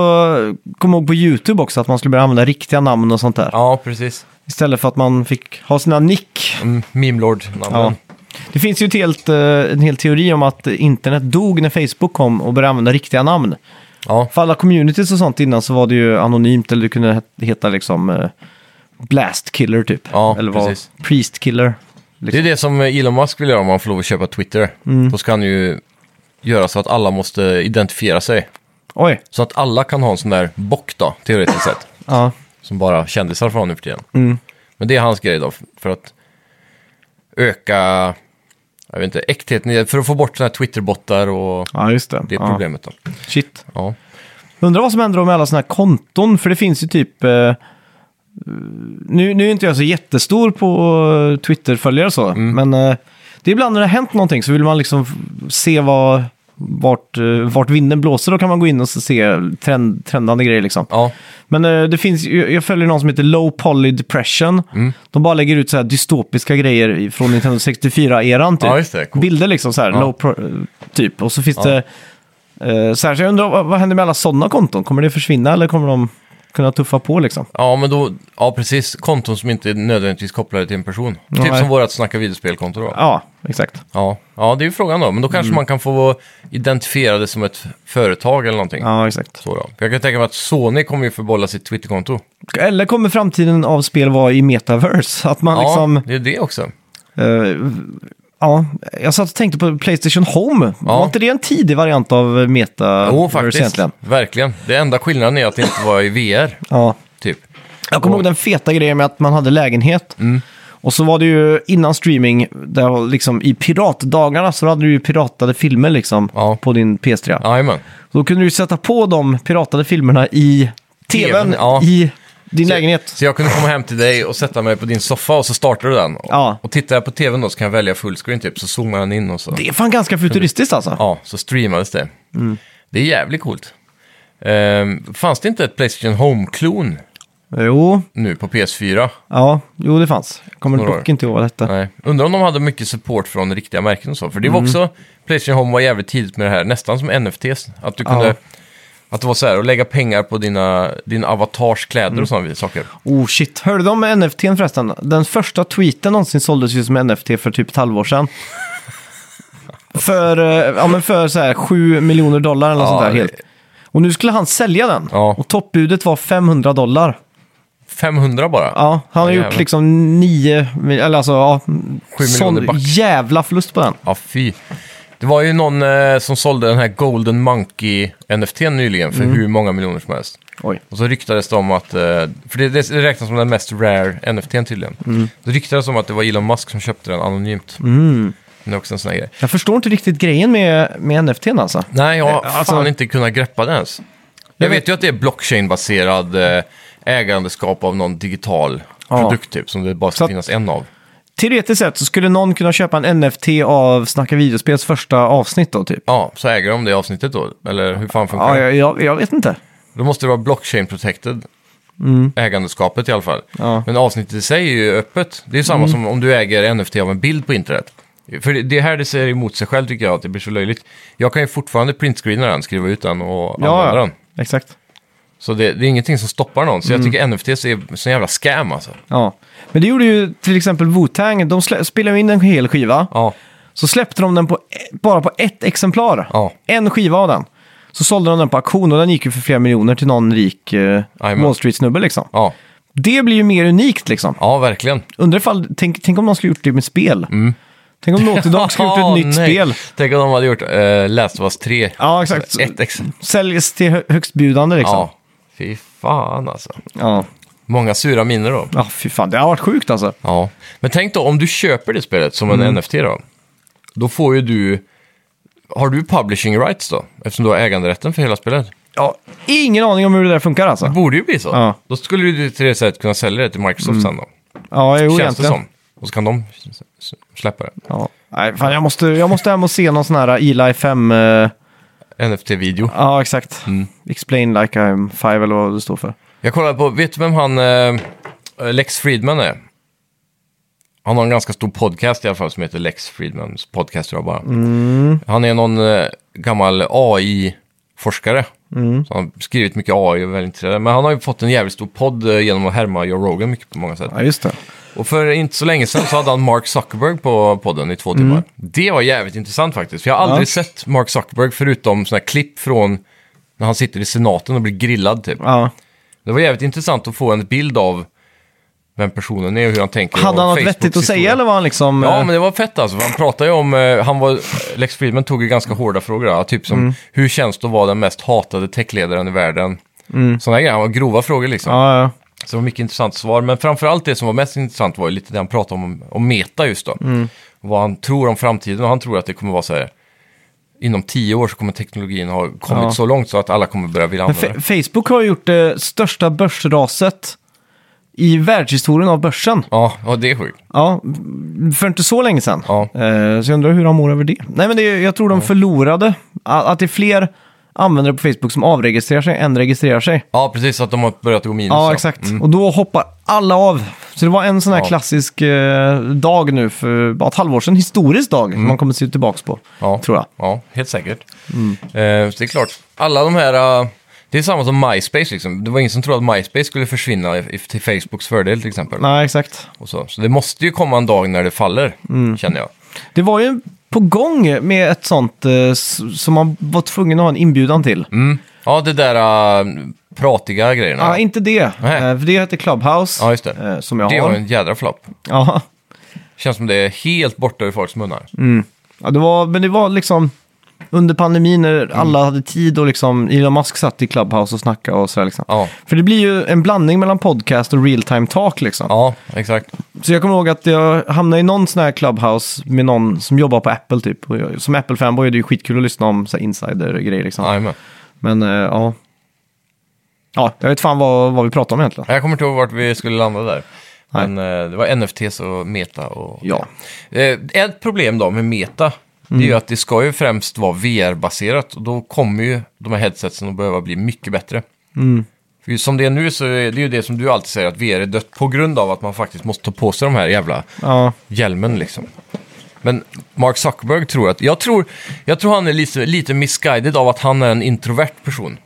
A: kom jag ihåg på YouTube också att man skulle börja använda riktiga namn och sånt där.
B: ja precis.
A: Istället för att man fick ha sina nick.
B: Mm, Memelord-namnen.
A: Det finns ju ett helt, eh, en hel teori om att internet dog när Facebook kom och började använda riktiga namn.
B: Ja.
A: För alla communities och sånt innan så var det ju anonymt eller du kunde het- heta liksom eh, Blast Killer typ.
B: Ja,
A: eller vad-
B: precis.
A: Priest Killer. Liksom.
B: Det är det som Elon Musk vill göra om han får lov att köpa Twitter.
A: Mm.
B: Då ska han ju göra så att alla måste identifiera sig.
A: Oj,
B: Så att alla kan ha en sån där bock då, teoretiskt sett.
A: ja. Mm.
B: Som bara kändisar får ha nu för tiden. Men det är hans grej då, för att öka, jag vet inte, äktheten, i- för att få bort såna här Twitterbottar och
A: ja, just det.
B: det är
A: ja.
B: problemet då.
A: Shit.
B: Ja.
A: Undrar vad som händer med alla sådana här konton, för det finns ju typ... Eh, nu, nu är inte jag så jättestor på eh, Twitter-följare och så, men eh, det är ibland när det har hänt någonting så vill man liksom f- se vad, vart, eh, vart vinden blåser. Då kan man gå in och så se trend, trendande grejer liksom.
B: ja,
A: Men eh, det finns, ju- jag följer någon som heter Low Poly Depression. De bara lägger ut så här dystopiska grejer i- från Nintendo 64-eran. Typ.
B: Ja, just det. Coolt.
A: Bilder liksom så här,
B: Ja.
A: low pro, eh, typ. Och så finns det... eh, så, här, så jag undrar, vad, vad händer med alla sådana konton? Kommer det försvinna eller kommer de kunna tuffa på liksom?
B: ja, men då, ja precis, konton som inte är nödvändigtvis kopplade till en person. Typ
A: Nej.
B: som vårat snacka videospelkonto då.
A: Ja, exakt.
B: Ja. ja, det är ju frågan då, men då
A: Mm.
B: kanske man kan få identifiera det som ett företag eller någonting.
A: Ja, exakt.
B: Så då. För Jag kan tänka mig att Sony kommer ju förbolla sitt Twitterkonto.
A: Eller kommer framtiden av spel vara i metaverse? Att man
B: Ja,
A: liksom...
B: det är det också.
A: eh, ja, jag satt och tänkte på Playstation Home.
B: Ja.
A: Var inte det en tidig variant av metaverse
B: Jo, faktiskt.
A: egentligen?
B: Verkligen. Det enda skillnaden är att det inte var i VR,
A: Ja.
B: typ.
A: Jag kommer ihåg den feta grejen med att man hade lägenhet.
B: Mm.
A: Och så var det ju innan streaming, där var liksom i piratdagarna så hade du ju piratade filmer liksom
B: Ja.
A: på din PS3.
B: Jajamän.
A: Då kunde du sätta på de piratade filmerna i tvn
B: ja.
A: i din lägenhet.
B: Så jag kunde komma hem till dig och sätta mig på din soffa och så startar du den. Och,
A: Ja.
B: och tittar jag på tvn då så kan jag välja fullscreen typ, så zoomar den in och så.
A: Det Mm. är fan ganska futuristiskt alltså.
B: Ja, så streamades det. Det är jävligt coolt. Ehm, fanns det inte ett Playstation Home-klon
A: Jo,
B: nu på PS4?
A: ja, jo det fanns. Jag kommer
B: Några år.
A: dock inte ihåg vad det hette.
B: Nej. Undrar om de hade mycket support från riktiga märken och så. För det
A: Mm.
B: var också, Playstation Home var jävligt tidigt med det här, nästan som NFTs. Att du kunde,
A: Ja.
B: att det var så här, att lägga pengar på dina, din avatars kläder och sådana saker.
A: Oh shit, hörde du om NFT n förresten? Den första tweeten någonsin såldes ju som NFT för typ ett halvår sedan. för, eh, ja, men för så här 7 miljoner dollar eller något
B: Ja,
A: sånt där
B: det-
A: helt. Och nu skulle han sälja den.
B: Ja.
A: Och toppbudet var 500 dollar.
B: 500 bara.
A: Ja, han har
B: Ja,
A: gjort
B: jävlar.
A: liksom nio, mil- eller alltså, ja, sån
B: miljoner back.
A: jävla förlust på den.
B: Ja, fy. Det var ju någon eh, som sålde den här Golden Monkey NFT nyligen
A: Mm.
B: för hur många miljoner som helst.
A: Oj.
B: Och så ryktades det om att, eh, för det, det räknas som den mest rare NFT tydligen.
A: Mm.
B: Det ryktades om att det var Elon Musk som köpte den anonymt.
A: Mm.
B: Det är också en sån här grej.
A: Jag förstår inte riktigt grejen med, med NFT alltså.
B: Nej, jag har
A: Eh, alltså-
B: fan inte kunnat greppa det ens. Jag vet ju att det är blockchain-baserad eh, ägandeskap av någon digital
A: Ja.
B: produkt typ, som det bara ska
A: Så att-
B: finnas en av.
A: Teoretiskt sett så skulle någon kunna köpa en NFT av Snacka videospels första avsnitt då typ.
B: Ja, så äger de det avsnittet då? Eller hur fan funkar
A: Ja,
B: det?
A: jag, jag, jag vet inte.
B: Då måste det vara blockchain-protected. Ägandeskapet i alla fall.
A: Mm. Ja. Mm.
B: Men avsnittet i sig är ju öppet. Det är ju samma som om du äger NFT av en bild på internet. För det- det är här det säger emot sig själv tycker jag, att det blir så löjligt. Jag kan ju fortfarande printscreena den, skriva ut den och använda den.
A: exakt.
B: Så det, det är ingenting som stoppar någon. Så
A: Mm.
B: jag tycker NFT är en sån jävla scam alltså.
A: Ja. Men det gjorde ju till exempel Wu-Tang, de slä- spelade ju in en hel skiva.
B: Ja,
A: Så släppte de den på, e- bara på ett exemplar.
B: Ja.
A: En skiva av den. Så sålde de den på auktion och den gick ju för flera miljoner till någon rik eh,
B: Jajamän.
A: Wall Street-snubbe liksom.
B: ja,
A: Det blir ju mer unikt liksom.
B: ja verkligen.
A: Undrar ifall, tänk, tänk om någon skulle gjort det med spel. Tänk om Naughty Dog skulle gjort ett
B: Mm. Ja,
A: nytt
B: Ah, nej.
A: spel. Alltså,
B: Tänk om de hade gjort uh, Last of Us 3.
A: Ja, exakt.
B: Ett ex.
A: Säljs till hö- högstbjudande liksom.
B: Ja, fy fan alltså.
A: Ja.
B: Många sura miner då.
A: Ja, fy fan. Det har varit sjukt alltså.
B: Ja, men tänk då om du köper det spelet som
A: Mm.
B: en NFT då. Då får ju du... Har du publishing rights då? Eftersom du har äganderätten för hela spelet.
A: Ja, ingen aning om hur det där funkar alltså.
B: Det borde ju bli så.
A: Ja.
B: Då skulle du till det sättet kunna sälja det till Microsoft sen då.
A: Ja, jo,
B: Känns
A: egentligen.
B: det som. Och så kan de s- s- släppa det.
A: Ja. Nej, fan, jag måste, jag måste hem och se någon sån här Eli 5... eh,
B: NFT-video.
A: ja, exakt.
B: Mm.
A: Explain like I'm 5 eller vad det står för.
B: Jag kollade på, vet du vem han eh, Lex Friedman är? Han har en ganska stor podcast i alla fall som heter Lex Friedmans podcast tror jag bara. Han är någon eh, gammal AI-forskare. Så han har skrivit mycket AI och är väldigt intresserad. Men han har ju fått en jävligt stor podd eh, genom att härma Joe Rogan mycket på många sätt.
A: Ja, just det.
B: Och för inte så länge sedan så hade han Mark Zuckerberg på podden i två timmar. Det var jävligt intressant faktiskt. För jag har aldrig sett Mark Zuckerberg förutom sådana här klipp från när han sitter i senaten och blir grillad typ.
A: Ja.
B: Det var jävligt intressant att få en bild av vem personen är och hur han tänker.
A: Hade
B: och
A: han något
B: Facebooks
A: vettigt att
B: historia.
A: säga eller var han liksom...
B: Ja,
A: eh,
B: men det var fett alltså. för Han pratade ju om, eh, han var, Lex Friedman tog ju ganska hårda frågor. ja, Typ
A: Mm.
B: som, hur känns det att vara den mest hatade techledaren i världen? Sådana grejer, han var grova frågor liksom.
A: Mm. ja, ja.
B: Så det var mycket intressant svar. Men framförallt det som var mest intressant var ju lite det han pratade om, om meta just då.
A: Mm.
B: Vad han tror om framtiden och han tror att det kommer vara så här, inom tio år så kommer teknologin ha kommit
A: Ja.
B: så långt så att alla kommer börja vilja
A: Men
B: använda
A: Fe-
B: det.
A: Facebook har gjort det största börsraset i världshistorien av börsen.
B: Ja, ja, det är sjukt.
A: Ja, för inte så länge sedan.
B: Ja.
A: Eh, Så jag undrar hur de mår över det. Nej, men det, är- jag tror de förlorade. A- Att det är fler användare på Facebook som avregistrerar sig än registrerar sig.
B: Ja, precis. Att de har börjat gå minus.
A: Ja, exakt. Och då hoppar alla av. Så det var en sån här
B: Mm. Ja.
A: klassisk eh, dag nu för bara ett halvår sedan. Historisk dag
B: Mm.
A: som man kommer se tillbaka på,
B: Ja.
A: tror jag. Mm.
B: Ja, helt säkert. Eh, så det är klart, alla de här... eh, det är samma som MySpace liksom. Det var ingen som trodde att MySpace skulle försvinna i- i- till Facebooks fördel till exempel.
A: Nej, exakt.
B: Och så. så det måste ju komma en dag när det faller,
A: Mm.
B: känner jag.
A: Det var ju på gång med ett sånt eh, s- som man var tvungen att ha en inbjudan till.
B: Mm. Ja, det där eh, pratiga grejerna.
A: Ja, Ah, inte det.
B: Nej.
A: Eh, För det heter Clubhouse.
B: Ja, just det.
A: eh, Som jag
B: det
A: har.
B: var en jädra flopp.
A: Ja.
B: Känns som det är helt borta ur folks munnar.
A: Mm. Ja, det var, men det var liksom under pandemin när
B: Mm.
A: alla hade tid och liksom Elon Musk satt i Clubhouse och snackade och sådär liksom.
B: Ja.
A: För det blir ju en blandning mellan podcast och real time talk liksom.
B: ja, exakt.
A: Så jag kommer ihåg att jag hamnade i någon sån här Clubhouse med någon som jobbar på Apple typ. Och jag, som Apple-fanboy är det ju skitkul att lyssna om så här, insider-grejer liksom.
B: Jajamän.
A: Men eh, ja. Ja, jag vet fan vad, vad vi pratar om egentligen.
B: Jag kommer inte ihåg vart vi skulle landa där.
A: Nej.
B: Men eh, det var NFTs och Meta och...
A: Ja. Mm.
B: Eh, ett problem då med Meta, det är ju att det ska ju främst vara VR-baserat och då kommer ju de här headsetsen att behöva bli mycket bättre.
A: Mm.
B: För ju som det är nu så är det ju det som du alltid säger att VR är dött på grund av att man faktiskt måste ta på sig de här jävla
A: Ja,
B: hjälmen liksom. Men Mark Zuckerberg tror att, jag tror, jag tror han är lite, lite misguided av att han är en introvert person.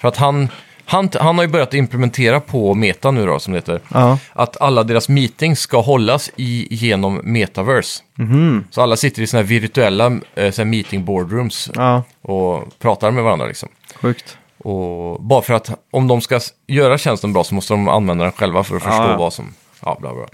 B: För att han, han, han har ju börjat implementera på Meta nu då, som det heter,
A: Ja.
B: att alla deras meetings ska hållas i, genom Metaverse. Så alla sitter i såna här virtuella eh, så här meeting boardrooms
A: ja.
B: och pratar med varandra liksom.
A: sjukt.
B: Och bara för att om de ska s- göra tjänsten bra så måste de använda den själva för att förstå
A: Ah, Ja, Mm. ja.
B: vad som... Ja, bla bla.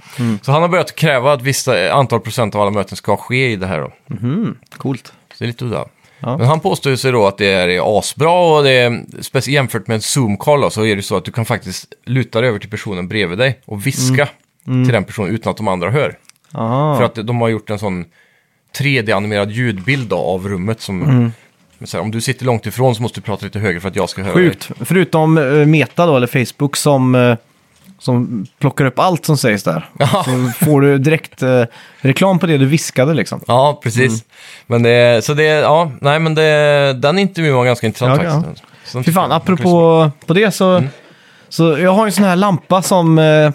B: Så han har börjat kräva att vissa eh, antal procent av alla möten ska ske i det här då. Mhm,
A: Coolt.
B: Så det är lite udda.
A: Ja.
B: Men han påstår ju sig då att det här är asbra och det är, speci- jämfört med en Zoom-call då, så är det ju så att du kan faktiskt luta dig över till personen bredvid dig och viska
A: Mm.
B: till den personen utan att de andra hör.
A: Aha.
B: För att de har gjort en sån 3D-animerad ljudbild då, av rummet som...
A: Mm.
B: Men Så här, om du sitter långt ifrån så måste du prata lite högre för att jag ska höra dig.
A: Sjukt. Förutom eh, Meta då, eller Facebook, som, eh, som plockar upp allt som sägs där.
B: Ja.
A: Så får du direkt eh, reklam på det du viskade liksom.
B: Ja, precis. Men det, så det, ja, nej men det, den intervjun var ganska intressant
A: Ja, ja.
B: faktiskt. Ja.
A: Fy fan, apropå på det så,
B: Mm.
A: så jag har ju en sån här lampa som, eh,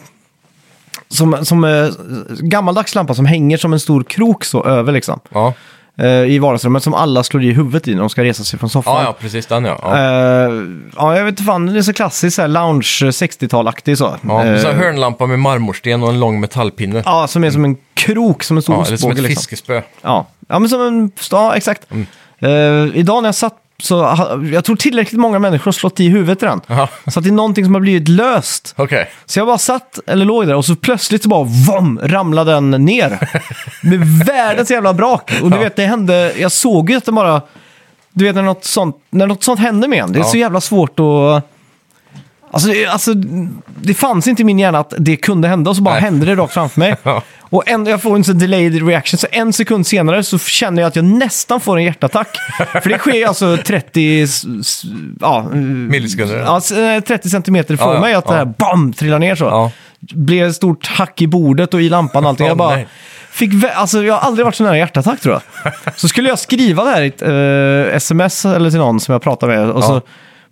A: som, som eh, gammaldags lampa som hänger som en stor krok så över liksom.
B: Ja,
A: eh, I vardagsrummet som alla slår i huvudet i när de ska resa sig från soffan.
B: ja, ja precis den ja. ja.
A: Eh, ja, jag vet inte fan, den är så klassisk, så här lounge 60-tal-aktig så.
B: Ja,
A: Eh,
B: så här hörnlampa med marmorsten och en lång metallpinne.
A: ja, som är som en krok, som en stor
B: Ja, eller som
A: ostbåge
B: ett Mm.
A: liksom.
B: fiskespö.
A: Ja. ja, men som en... Ja, exakt. Eh, idag när jag satt så ha- jag tror tillräckligt många människor har slått i huvudet i den.
B: Ja,
A: Så att det är någonting som har blivit löst.
B: Okej.
A: Så jag bara satt, eller låg där, och så plötsligt så bara vom, ramlade den ner. Med världens jävla brak. Och du vet, det hände, jag såg ju att den bara... Du vet när något sånt, när något sånt hände med en, det är
B: Ja.
A: så jävla svårt att... Alltså, det- alltså, det fanns inte i min hjärna att det kunde hända, och så bara
B: Nej.
A: hände det rakt framför mig.
B: Ja.
A: Och en, jag får en sån delayed reaction, så en sekund senare så känner jag att jag nästan får en hjärtattack. För det sker alltså 30... s- s- Ja,
B: Millisekunder.
A: Ja, s- eh, 30 centimeter från
B: Ja, ja,
A: mig att det
B: ja.
A: här bam, trillar ner så.
B: Ja.
A: Blev ett stort hack i bordet och i lampan och allting.
B: Åh,
A: Jag bara...
B: nej.
A: Fick vä- alltså, jag har aldrig varit så nära hjärtattack tror jag. Så skulle jag skriva det här i ett eh, sms eller till någon som jag pratade med. Och
B: Ja.
A: så,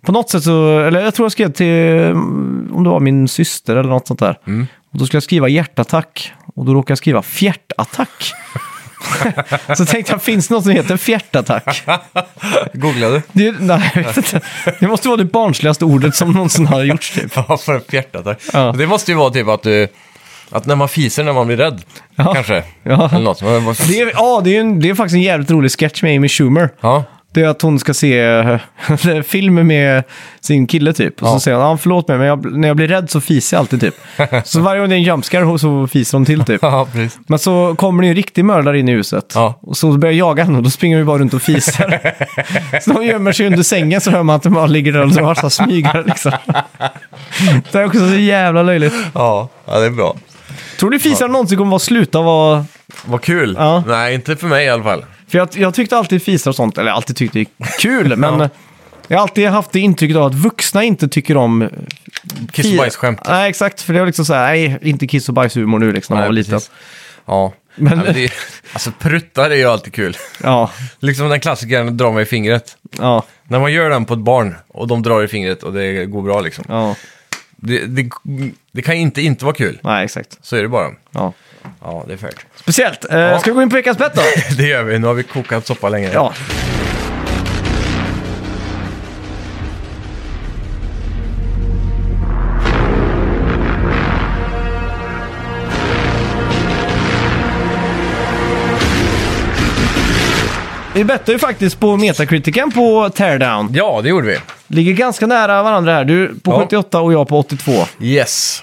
A: på något sätt så, eller jag tror jag skrev till, mm, om det var min syster eller något sånt där.
B: Mm.
A: Och då skulle jag skriva hjärtattack och då råkade jag skriva fjärtattack. så tänkte jag, finns det något som heter fjärtattack?
B: Googlade du?
A: Det, är- nej, jag vet inte. det måste vara det barnsligaste ordet som någonsin har gjorts typ.
B: Ja, för en fjärtattack.
A: Ja.
B: Det måste ju vara typ att du... Att när man fiser när man blir rädd,
A: Ja.
B: kanske.
A: Ja.
B: Eller något. Men bara-
A: Det är, ja, det är, ju en, det är faktiskt en jävligt rolig sketch med Amy Schumer.
B: Ja.
A: Det är att hon ska se eh, film med sin kille typ. Och så
B: Ja.
A: säger hon, ah, förlåt mig, men jag, när jag blir rädd så fiser jag alltid typ. så varje gång det är en jumpscare så fiser hon till typ.
B: ja, precis.
A: Men så kommer det ju en riktig mördare in i huset.
B: Ja.
A: Och så börjar jag jaga henne och då springer vi bara runt och fiser. så när hon gömmer sig under sängen så hör man att den bara ligger där och drar så här smygare liksom. det är också så jävla löjligt.
B: Ja. ja, det är bra.
A: Tror du fisar någonsin kommer vara sluta vara
B: Vad kul.
A: Ja.
B: Nej, inte för mig i alla fall.
A: För jag, jag tyckte alltid fisar och sånt, eller alltid tyckte det är kul, men jag har alltid haft det intrycket av att vuxna inte tycker om...
B: Kiss och bajsskämt.
A: Nej, exakt. För det var liksom så här, nej, inte kiss och bajshumor nu liksom, när man var liten.
B: precis. Ja.
A: Men-
B: Men... Ja, men det, alltså pruttar är ju alltid kul.
A: Ja,
B: Liksom den klassikern, dra mig i fingret.
A: ja,
B: När man gör den på ett barn och de drar i fingret och det går bra liksom.
A: ja.
B: Det, det, det kan inte inte vara kul.
A: Nej, exakt.
B: Så är det bara.
A: Ja.
B: Ja, det är färdigt.
A: Speciellt. Eh, Ska vi gå in på veckans bett då?
B: Det gör vi. Nu har vi kokat soppa länge.
A: ja. Vi bettade ju faktiskt på Metacritiken på Teardown.
B: Ja, det gjorde vi.
A: Ligger ganska nära varandra här. Du på
B: Ja.
A: 78 och jag på 82.
B: Yes.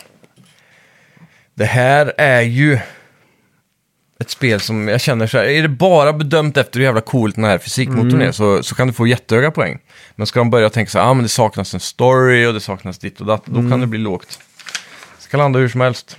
B: Det här är ju ett spel som jag känner så här, är det bara bedömt efter hur jävla coolt den här fysikmotorn är så, så kan du få jättehöga poäng. Men ska de börja tänka så här, ah, men det saknas en story och det saknas ditt och datt, då kan det bli lågt. Det ska landa hur som helst.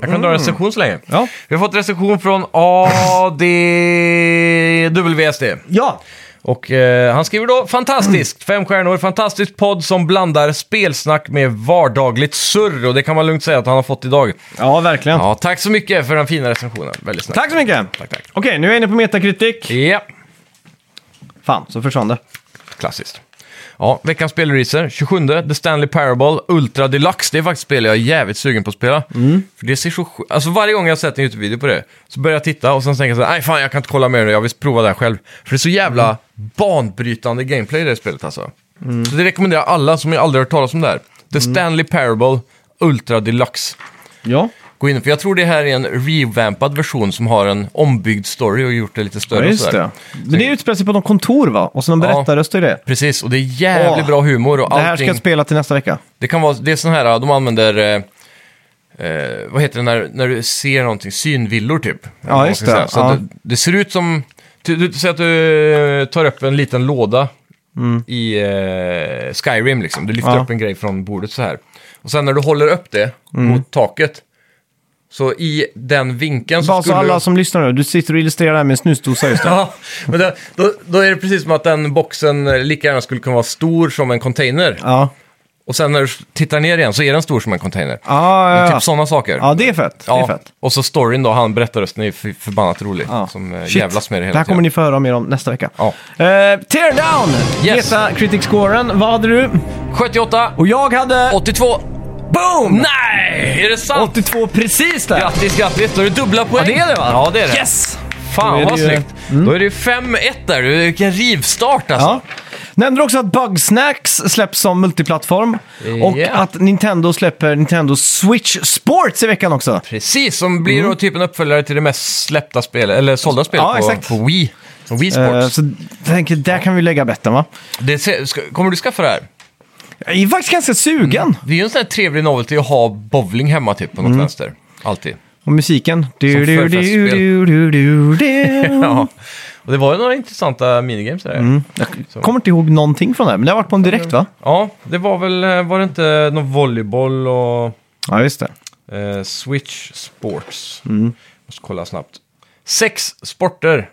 B: jag kan dra recension så länge.
A: Ja.
B: Vi har fått recension från ADWSD.
A: Ja!
B: Och eh, han skriver då fantastiskt, fem stjärnor, fantastisk podd som blandar spelsnack med vardagligt surr och det kan man lugnt säga att han har fått idag.
A: Ja, verkligen.
B: Ja, tack så mycket för den fina recensionen, väldigt snällt.
A: Tack så mycket!
B: Tack, tack.
A: Okej, nu är jag inne på Metacritic.
B: Ja,
A: Fan, så försvann det.
B: klassiskt. Ja, veckans spelreleaser, 27, The Stanley Parable Ultra Deluxe. Det är faktiskt ett spel jag är jävligt sugen på att spela.
A: Mm.
B: För det ser så sj- Alltså varje gång jag har sett en YouTube-video på det så börjar jag titta och sen tänker jag så här, nej fan jag kan inte kolla mer nu, jag vill prova det här själv. För det är så jävla
A: Mm.
B: banbrytande gameplay i det här spelet alltså. Så det rekommenderar
A: Mm.
B: alla som jag aldrig har hört talas om det här. The Stanley Parable Ultra Deluxe.
A: Ja.
B: gå in. För jag tror det här är en revampad version som har en ombyggd story och gjort det lite
A: Ja,
B: större. och
A: just
B: sådär.
A: det. Men det utspelar sig på någon kontor va? Och så någon
B: Ja.
A: berättarröst och det.
B: Precis, och det är jävligt
A: Åh,
B: bra humor och
A: Det här ska
B: allting.
A: jag spela till nästa vecka.
B: Det kan vara, det är sån här, de använder, eh, eh, vad heter det när, när du ser någonting, synvillor typ. Eller vad man
A: just
B: ska
A: det,
B: säga. Så
A: ja.
B: att det, det ser ut som, du, du säger att du eh, tar upp en liten låda i eh, Skyrim liksom. Du lyfter
A: Mm. Ja.
B: upp en grej från bordet så här. Och sen när du håller upp det
A: Mm.
B: mot taket, så i den vinkeln så
A: Bara så
B: skulle
A: alla
B: du...
A: som lyssnar nu, du sitter och illustrerar det här med en snusdosa just nu.
B: Ja, men det, då, då är det precis som att den boxen eh, lika gärna skulle kunna vara stor som en container.
A: Ja,
B: Och sen när du tittar ner igen så är den stor som en container.
A: ja, ja, ja.
B: Typ sådana saker.
A: ja det är fett. Det är fett.
B: Och så storyn då, han berättar rösten är ju för- förbannat rolig.
A: Ja.
B: Som eh,
A: Shit.
B: jävlas med det hela
A: Det här kommer
B: tiden.
A: ni få höra mer om nästa vecka.
B: Ja.
A: Eh, tear down!
B: Yes.
A: Meta critic scoren Vad hade du?
B: 78,
A: Och jag hade...
B: 82.
A: Boom!
B: Nej! Är det sant?
A: 82 precis där!
B: Grattis, grattis! Då är det dubbla poäng.
A: Ja, det är det, va?
B: Ja, det är det.
A: Yes! Då
B: Fan
A: är
B: vad
A: det ju- Mm.
B: snyggt. Då är det ju 5-1 där. Du, Vilken rivstart alltså.
A: Ja. Nämnde också att Bugsnax släpps som multiplattform. Och
B: Eh, Ja.
A: att Nintendo släpper Nintendo Switch Sports i veckan också.
B: Precis, som blir då typ en uppföljare till det mest släppta spelet, eller sålda spelet
A: Mm. Ja,
B: på,
A: exakt.
B: på Wii. På Wii Sports.
A: Eh, så jag tänker, där kan vi lägga betten va?
B: det ser, ska, kommer du skaffa det här?
A: Jag är faktiskt ganska sugen.
B: Det är ju en sån här trevlig novelty att ha bowling hemma typ på något
A: Mm.
B: vänster. Alltid.
A: Och musiken. Du, du, du,
B: förfestspel.
A: du, du, du, du.
B: Ja. Och det var ju några intressanta minigames där.
A: Mm. Jag kommer inte ihåg någonting från det här, men det har varit på en direkt va?
B: Ja, det var väl, eh, var det inte någon volleyboll och
A: Ja, just det.
B: eh, Switch Sports?
A: Mm.
B: Måste kolla snabbt. Sex sporter.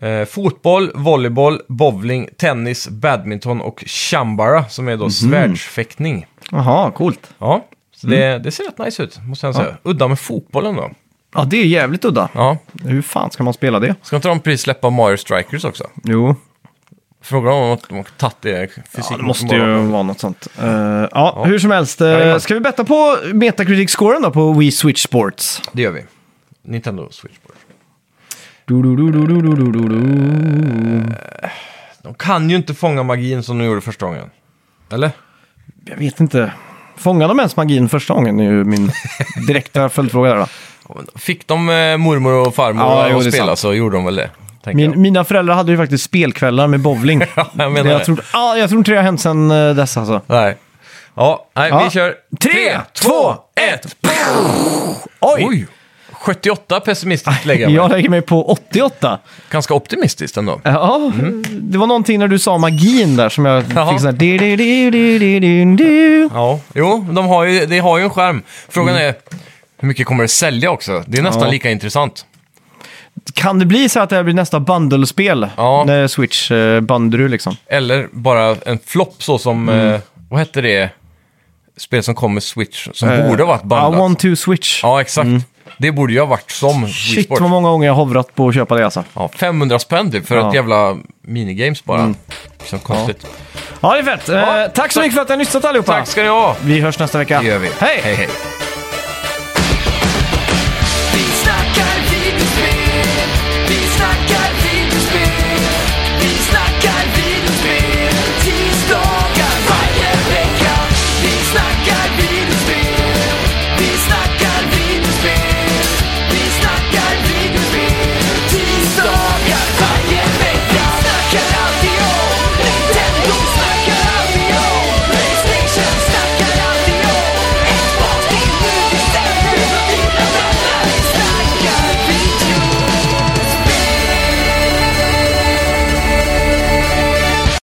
B: Eh, fotboll, volleyboll, bowling, tennis, badminton och chambara som
A: Mhm.
B: är då svärdsfäktning.
A: Jaha, coolt.
B: Ja, så
A: Mm.
B: det, det ser rätt nice ut måste jag säga. Udda med fotbollen då.
A: Ja, det är jävligt udda.
B: Ja.
A: Hur fan ska man spela det?
B: Ska inte de precis släppa Mario Strikers också?
A: Jo,
B: Frågan om att de har tagit det fysik.
A: ja, det måste ju vara något sånt. Eh, ja, hur som helst. eh,
B: Jajamän.
A: ska vi betta på Metacritic-scoren då på Wii Switch Sports?
B: Det gör vi. Nintendo Switch Sports.
A: Du, du, du, du, du, du, du, du, du.
B: De kan ju inte fånga magin som de gjorde första gången. Eller?
A: Jag vet inte. Fångade de ens magin första gången? är ju min direkta följdfråga där. Då.
B: Fick de eh, mormor och farmor
A: Ja, jo,
B: att
A: det är
B: spela
A: sant.
B: så gjorde de väl det. tänker
A: Min, mina föräldrar hade ju faktiskt spelkvällar med bowling.
B: jag menar
A: Det
B: det.
A: jag, tror, ah, jag tror inte det har hänt sedan eh, dess alltså.
B: jag. Nej. Ja, nej,
A: Ja.
B: vi kör.
A: Tre, två,
B: ett.
A: Oj!
B: Oj! 78 pessimistiskt lägger jag mig.
A: Jag lägger mig på 88.
B: Ganska optimistiskt ändå.
A: Ja, det var någonting när du sa magin där som jag
B: Mm. Jaha.
A: fick sån här... di- di- di- di- di- di- di.
B: Ja, jo, de har ju, det har ju en skärm. Frågan är hur mycket kommer det sälja också? Det är nästan
A: Mm. Ja.
B: lika intressant.
A: Kan det bli så att det här blir nästa bundlespel?
B: Ja.
A: När Switch eh, bandru liksom.
B: Eller bara en flopp så som,
A: Mm.
B: eh, vad hette det spel som kom med Switch som
A: Eh,
B: borde ha varit
A: Ja,
B: bandat?
A: One Two Switch.
B: Ja, exakt. Det borde ju ha varit som Wii
A: Mm. Shit
B: Sports.
A: vad många gånger jag har hovrat på att köpa det alltså.
B: Ja, 500 spänn typ för
A: Ja. Mm.
B: ett jävla minigames bara. Så konstigt.
A: Ja, det är fett. Eh,
B: Ja,
A: tack så mycket för att ni har lyssnat allihopa.
B: Tack ska ni ha!
A: Vi hörs nästa vecka.
B: Det gör vi.
A: Hej!
B: hej, hej.